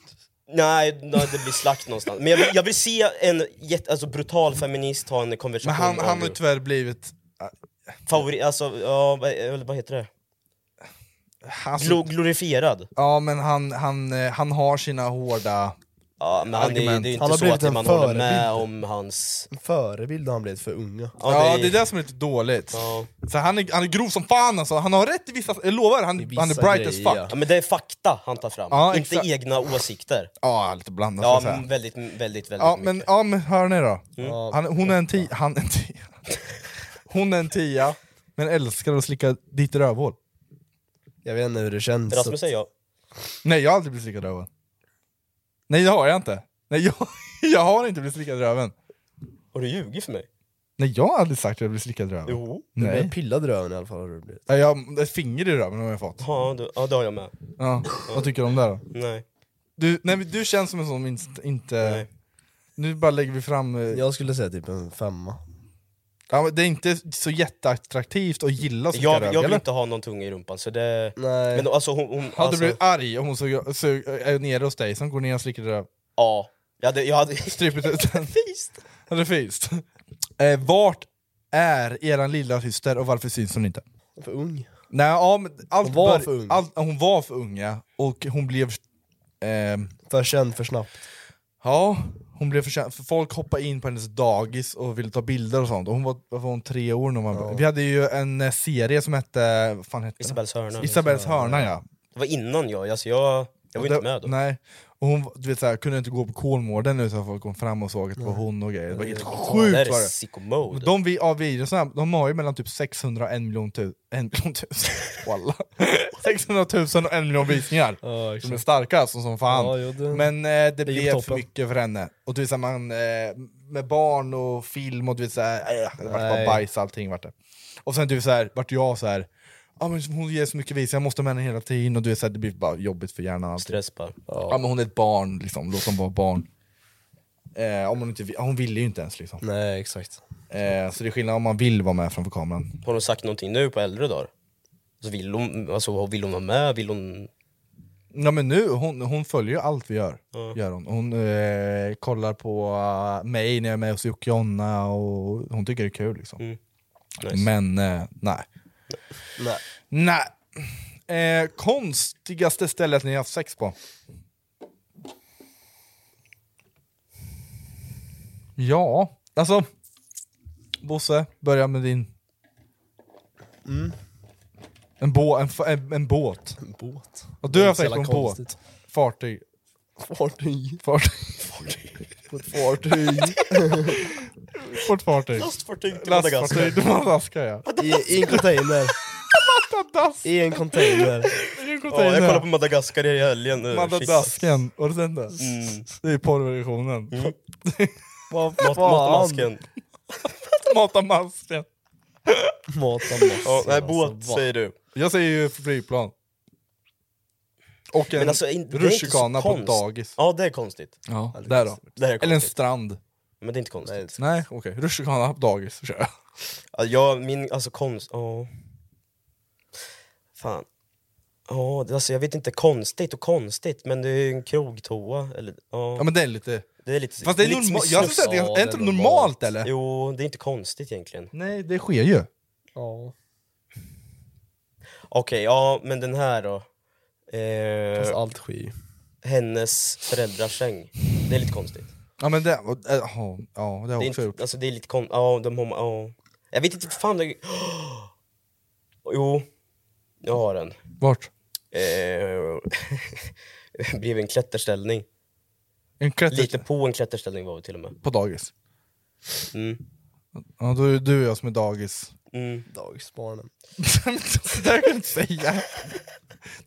Nej, nej det blir slakt någonstans. Men jag vill, jag vill se en jätte, alltså, brutal feminist ha en konversation Men han, med han har ju typ- Andrew. tyvärr blivit... Favori, alltså, ja, vad, eller vad heter det? Alltså, Glo, glorifierad. ja men han, han, eh, han har sina hårda... Ja, men han är, Argument. det är ju inte Han har så blivit att en man håller med förebild. om hans... En förebild har han blivit för unga. Ja, ja är- det är det som är lite dåligt. Ja. Så han, är, han är grov som fan alltså, han har rätt i vissa... Jag lovar, han, I vissa han är bright as grejer, fuck. Ja, men det är fakta han tar fram, Ja, inte exakt. egna åsikter. Ja, lite blandat Ja, ska jag men säga. väldigt, väldigt, väldigt Ja men, mycket. Mm. ja men hör ni då? Ja. Han, hon är en tia, han är en tia. Hon är en tia, men älskar att slicka ditt rövhål. Jag vet inte hur det känns. Rasmus säger jag. Nej jag har aldrig blivit slickad i röven. Nej det har jag inte. Nej jag, jag har inte blivit slickad i röven. Har du ljugit för mig? Nej jag har aldrig sagt att jag blivit slickad i röven. Jo. Du blev Nej. pillad i röven i alla fall har du blivit. Nej, Jag, ett finger i röven har jag fått. Ja, det, ja, det har jag med. Ja. Vad tycker du om det då? Nej. Du, nej, men du känns som en sån minst, inte... Nej. Nu bara lägger vi fram... eh, Jag skulle säga typ en femma. Ja, men det är inte så jätteattraktivt att gilla att slicka Jag, röv, jag vill eller? inte ha någon tunga i rumpan så det... Nej. Men alltså hon... hon Hade du alltså, blivit arg om hon såg, såg, är nere hos dig, som går ner och slickar i röv? Ja. Jag hade... Jag hade Strypet ut den? Fist. Hade du fist? Eh, vart är eran lilla syster och varför syns hon inte? För ung. Nej, ja, men allt Hon var bör- för ung. Allt, hon var för ung ja, och hon blev... ehm, För känd för snabbt. ja, hon blev förtjänt, för folk hoppade in på hennes dagis och ville ta bilder och sånt. Och hon var, vad var hon tre år när hon var, Vi hade ju en eh, serie som hette... Vad fan hette den? Isabells hörna. Isabells hörna ja. Det var innan jag, alltså jag... Jag var inte med då. Nej. Och hon du vet, så här, kunde inte gå på Kolmården utan att folk kom fram och såg att det var hon och grejer. Det var helt det sjukt här var är det. sicko mode. De vi, av videorna, de har ju mellan typ 600 och 1 miljon tu- en miljon tusen, Wallah. 600 000 och en miljon visningar. Ja, Som är starka alltså som, som fan. Ja, jo, det- Men eh, det, gick blev toppen. för mycket för henne. Och du vet, så här, man, eh, med barn och film och du vet såhär, äh, det vart bara Nej. bajs allting vart det. Och sen du vet, så här, vart jag så här. Ah, men hon ger så mycket vis, jag måste ha med henne hela tiden och du vet, så här, det blir bara jobbigt för hjärnan. och allt. Stress bara. Ja men hon är ett barn, liksom. låt dem vara barn. Eh, om hon, inte, vi- hon ville ju inte ens liksom. Nej, exakt. Eh, så det är skillnad om man vill vara med framför kameran. Har hon sagt någonting nu på äldre dagar? Alltså vill, hon, alltså vill hon vara med? Vill hon... Ja, men nu, hon, hon följer ju allt vi gör. Ja. gör hon hon eh, kollar på eh, mig när jag är med hos Jocke och Jonna och hon tycker det är kul. Liksom. Mm. Nice. Men eh, nej. Nej. nej. Eh, konstigaste stället ni har haft sex på? Ja, alltså... Bosse, börja med din. Mm. En, bå, en, fa- en, en båt. En båt. Och Det är du har inte så sex på en jävla båt. konstigt. Fartyg. Fartyg. Fartyg. På ett fartyg. På ett fartyg. Lastfartyg till Lastfartyg till Madagaskar ja. I, I en container. I en container. Ja, jag kollade på Madagaskar i helgen nu. Mm. Shit. Madagasken, och sen då? Det är porrversionen. Mm. Vad Mat, matmasken. Mata masken. Mata alltså, Ja, masken. nej, båt säger du. Jag säger ju flygplan. Och en Men alltså, in- det är inte så rutschkana på konst- ett dagis. Ja, det är konstigt. Ja, där då. Det här är Eller en konstigt. strand. Men det är inte konstigt. Nej, okej. Rutschkana på dagis kör jag. Alltså, jag, min, alltså konst, ja. Fan. Ja, det- alltså jag vet inte, konstigt och konstigt, men det är ju en krogtoa, eller ja. Ja men det är lite... Det är lite... Fast det är, liksom normalt, i jag snus. skulle säga att det är inte det är normalt, normalt. eller? Jo, det är inte konstigt egentligen. Nej, det sker ju. Ja. Okej, ja, men den här då. Fast Eh, allt sker ju. hennes föräldrars säng. Det är lite konstigt. Ja men det... och- äh, Ja, ja, det har Det jag är, också gjort. inte, alltså det är lite konstigt, ja de har, ja. Jag vet inte, fan det... Jo, jag har den. Vart? Eh, bredvid en klätterställning. En klätter... Lite på en klätterställning var vi till och med. På dagis. Mm. Ja, då är det du och jag som är dagis. Mm. Dagisbarnen. det där kan jag inte säga.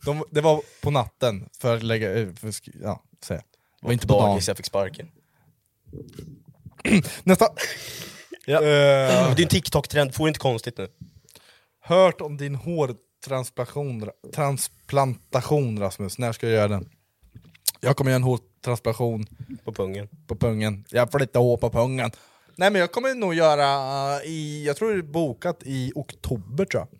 De, det var på natten, för att lägga eh, för, att sk- ja, säga. Det var inte på dagen. Dagis, jag fick sparken. Nästa! Men Eh, Det är en TikTok-trend, får inte konstigt nu. hört om din hårtransplantation transplantation, Rasmus, när ska jag göra den? Jag kommer göra en hårtransplantation På pungen. på pungen, jag flyttar hår på pungen. Nej men jag kommer nog göra eh, i, jag tror det är bokat i oktober tror jag.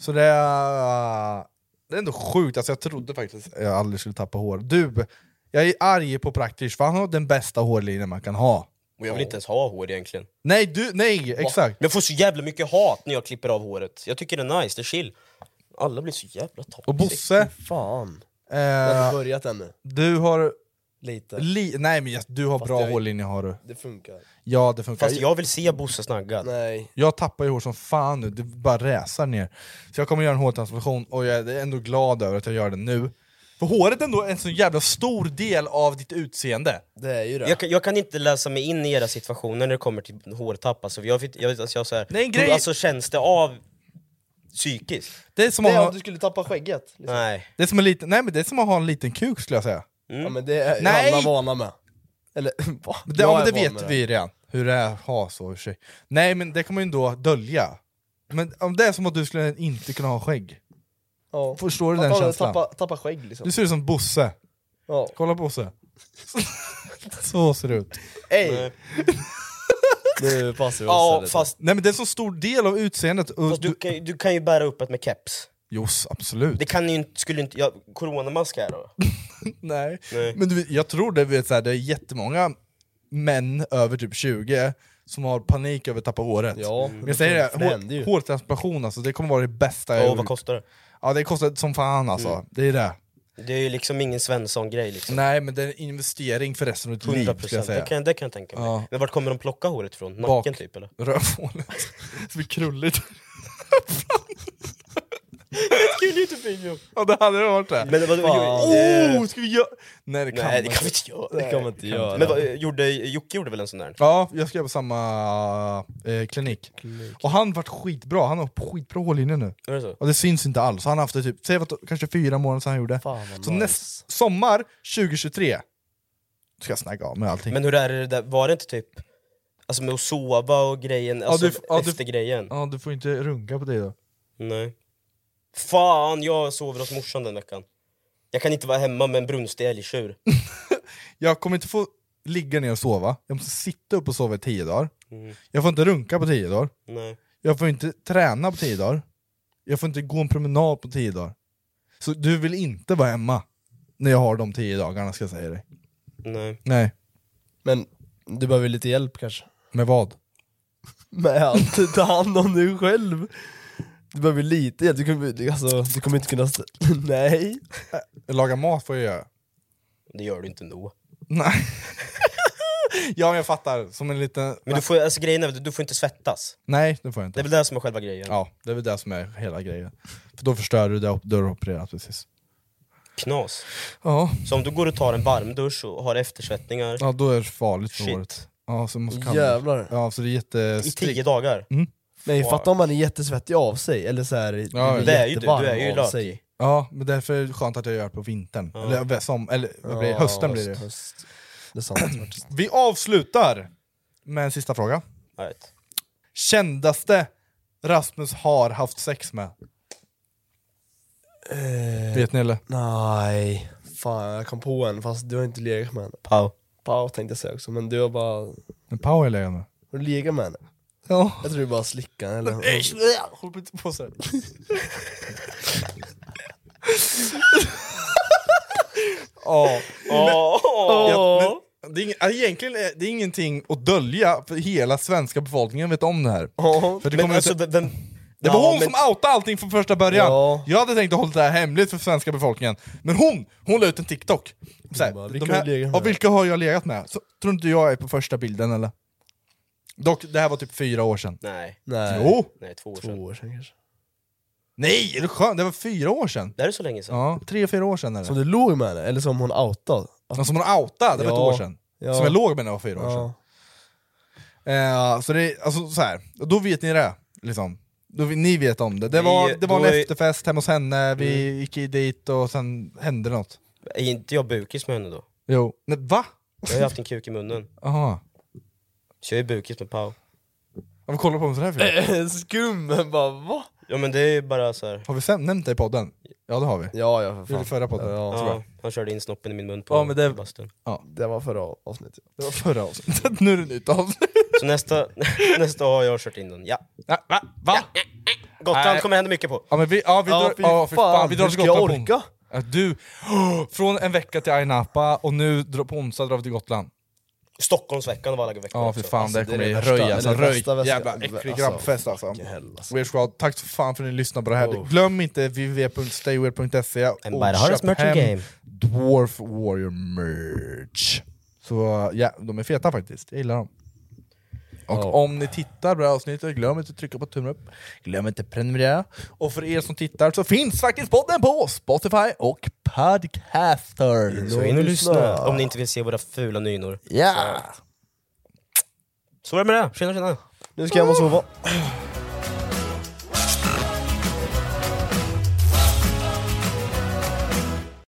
Så det är, det är ändå sjukt, alltså jag trodde faktiskt att jag aldrig skulle tappa hår. Du, jag är arg på Praktish för han har den bästa hårlinjen man kan ha. Och jag vill inte ens ha hår egentligen. Nej, du, nej, exakt. Men jag får så jävla mycket hat när jag klipper av håret. Jag tycker det är nice, det är chill. Alla blir så jävla Och toxic. Bosse, Fan. Jag har eh, inte börjat ännu. du har, Lite. li, nej men jag- du har Fast bra jag- hårlinje har du. Det funkar. Ja det funkar. Fast jag vill se Bosse snaggad. Nej. Jag tappar ju hår som fan nu, det bara räsar ner. Så jag kommer göra en hårtransplantation och jag är ändå glad över att jag gör det nu. För håret är ändå en så jävla stor del av ditt utseende. Det är ju det. Jag kan, jag kan inte läsa mig in i era situationer när det kommer till hårtapp. Alltså, jag, vet- jag, vet- alltså, jag, så här, Nej, en hur- grej- alltså känns det av psykiskt? Det är som Det att är om ha, du skulle tappa skägget. Liksom. Nej. det är som en liten, nej men det är som att ha en liten kuk skulle jag säga. Ja, men det är Nej! alla vana med. Eller va? Men Det, ja, men Jag är det van med vet vi redan, hur det är att ha så i och för sig. Nej men det kommer ju ändå dölja. Men om det är som att du skulle inte kunna ha skägg. Ja. Förstår du Att den alla känslan? Tappa, tappa skägg liksom. Du ser ut som Bosse. Ja. Kolla Bosse. så ser det ut. Ey! Nu passar vi oss här Ja, lite. fast, Nej men det är en så stor del av utseendet. Och fast du, du, kan, ju- du kan ju bära upp ett med keps. Jos, absolut. Det kan ju inte, skulle inte, jag, coronamask här då? Nej. Nej. Men du, vet, jag tror det, vet, så här, det är jättemånga män över typ 20 som har panik över att tappa håret. Ja, Men jag säger det, det händer hår, ju. hårtransplantation alltså, det kommer vara det bästa jag Ja, gjort. vad Mm. kostar det? Ja det kostar som fan alltså, det är det. Det är ju liksom ingen Svensson-grej liksom. Nej men det är en investering för resten av ditt liv 100 ska jag procent, det säga. kan, det kan jag tänka mig. Ja. Men vart kommer de plocka håret ifrån? Nacken Bak. typ eller? Rövhålet, det blir krulligt. Ja det hade det varit det. Men vad, Fan. det, oh, ska vi göra... Nej det kan nej, det man kan vi inte. inte göra. Det kan man inte göra. Men vad, gjorde, Jocke gjorde väl en sån där? Ja, jag ska på samma eh, klinik. Och han vart skitbra, han har skitbra hårlinje nu. Är det så? Och det syns inte alls, han har haft det typ, säg vad, kanske fyra månader sedan han gjorde. Fan, vad så nice. näst, sommar 2023 ska jag snagga av med allting. Men hur är det där, var det inte typ, alltså med att sova och grejen, alltså du f- ja, du- efter grejen? Ja, du får inte runka på dig då. Nej. Fan, jag sover hos morsan den veckan. Jag kan inte vara hemma med en brunstig älgtjur. Jag kommer inte få ligga ner och sova, jag måste sitta upp och sova i tio dagar. Mm. Jag får inte runka på tio dagar. Nej. Jag får inte träna på tio dagar. Jag får inte gå en promenad på tio dagar. Så du vill inte vara hemma när jag har de tio dagarna ska jag säga dig. Nej. Nej. Men du behöver lite hjälp kanske? Med vad? Med att ta hand om dig själv. Du behöver lite hjälp, du kommer, alltså, du kommer inte kunna... st- Nej. Laga mat får jag göra. Det gör du inte ändå. Nej. ja men jag fattar, som en liten... Men du får, alltså, grejen är att du får inte svettas. Nej det får jag inte. Det är väl det som är själva grejen. Ja, det är väl det som är hela grejen. För då förstör du det op- du har opererat precis. Knas. Ja. Så om du går och tar en varmdusch och har eftersvettningar Ja då är det farligt för Shit. håret. Ja, så måste Jävlar. Ja så det är i jättestrikt. tio dagar. Mm. Nej Wow. fatta om man är jättesvettig av sig, eller såhär Ja, blir det är ju du, jättevarm du är ju av lat. sig. Ja, men därför är det skönt att jag gör det på vintern. Eller, som, eller vad blir det? Ja, hösten blir höst, det. Höst. Det är sant faktiskt. Vi avslutar med en sista fråga. Right. Kändaste Rasmus har haft sex med? Vet ni eller? Nej, fan jag kom på en fast du har inte legat med henne. Pau. Pau tänkte jag säga också, men du har bara... Har Men Pau är legat med. du legat med henne? Ja. Jag tror du bara slickade henne, eller... Håller inte på sådär. Ja. Ja, men Det är, ing- alltså, egentligen är det är ingenting att dölja, för hela svenska befolkningen vet om det här. Ja. För det, Men kommer alltså, inte, vem, vem, det var Ja, hon men- som outade allting från första början. Ja. Jag hade tänkt att hålla det här hemligt för svenska befolkningen, men hon, hon la ut en TikTok. Så här, Hon bara, de "Vilka har du här, legat med?" ja, vilka har jag legat med? Så, tror inte jag är på första bilden eller? Dock, det här var typ fyra år sedan. nej, Nej. Jo! nej, två år Två sedan. år sedan kanske. Nej, är du skön? Det var fyra år sedan. Det här är så länge sedan. Ja, tre, fyra år sedan är det. Som du låg med henne, eller som hon outade? Ja, Som hon outade, det var Ja. ett år sedan. Ja. Som jag låg med när jag var fyra år sedan. Ja. Eh, så det, alltså så här, då vet ni det. Liksom. Då, vi- ni vet om det. Det var, Vi- det var en då är- efterfest hemma hos henne, vi Mm. gick dit och sen hände något. Är inte jag bukis med henne då? Jo. Nej, va? Jag har ju haft en kuk i munnen. Jaha. Så jag är bukis med Pau. Varför kollar du på mig sådär Eh. för? Skum, men bara va? Ja men det är bara så här. Har vi sen nämnt det i podden? Ja det har vi. Ja, ja för Det var fan. förra podden. Ja. tror Ja, jag. han körde in snoppen i min mun på Ja, men det- bastun. Det var förra avsnittet. Det var förra avsnittet, nu är det nytt avsnitt. Så nästa, nästa har jag kört in den. Ja. Ja, va? va? Ja. Gotland Nej. kommer hända mycket på. men vi, ja, vi drar, Ja, fy fan, vi drar hur till ska jag Gotland på orka? Ja, Du, från en vecka till Aina Napa och nu dra- på onsdag drar vi till Gotland. Stockholmsveckan var alla veckor Ja också. för fan, Alltså, det det är kommer det bli värsta- det röj är alltså, det röj. värsta väst- Jävla alltså, äcklig grabbfest alltså. vilken hell, alltså. Weird Squad, tack så fan för att ni lyssnar på det här. Oh. Glöm inte www.stayweird.se och And buy the hardest merch in game. Dwarf Warrior merch. Så ja, de är feta faktiskt, jag gillar dem. Och Oh. om ni tittar på det här avsnittet, glöm inte att trycka på tummen upp, glöm inte att prenumerera. Och för er som tittar så finns faktiskt podden på Spotify och Podcaster. Så in och lyssna. Om ni inte vill se våra fula nynor. Ja! Så var det med det. Tjena tjena. Nu ska jag hem och sova.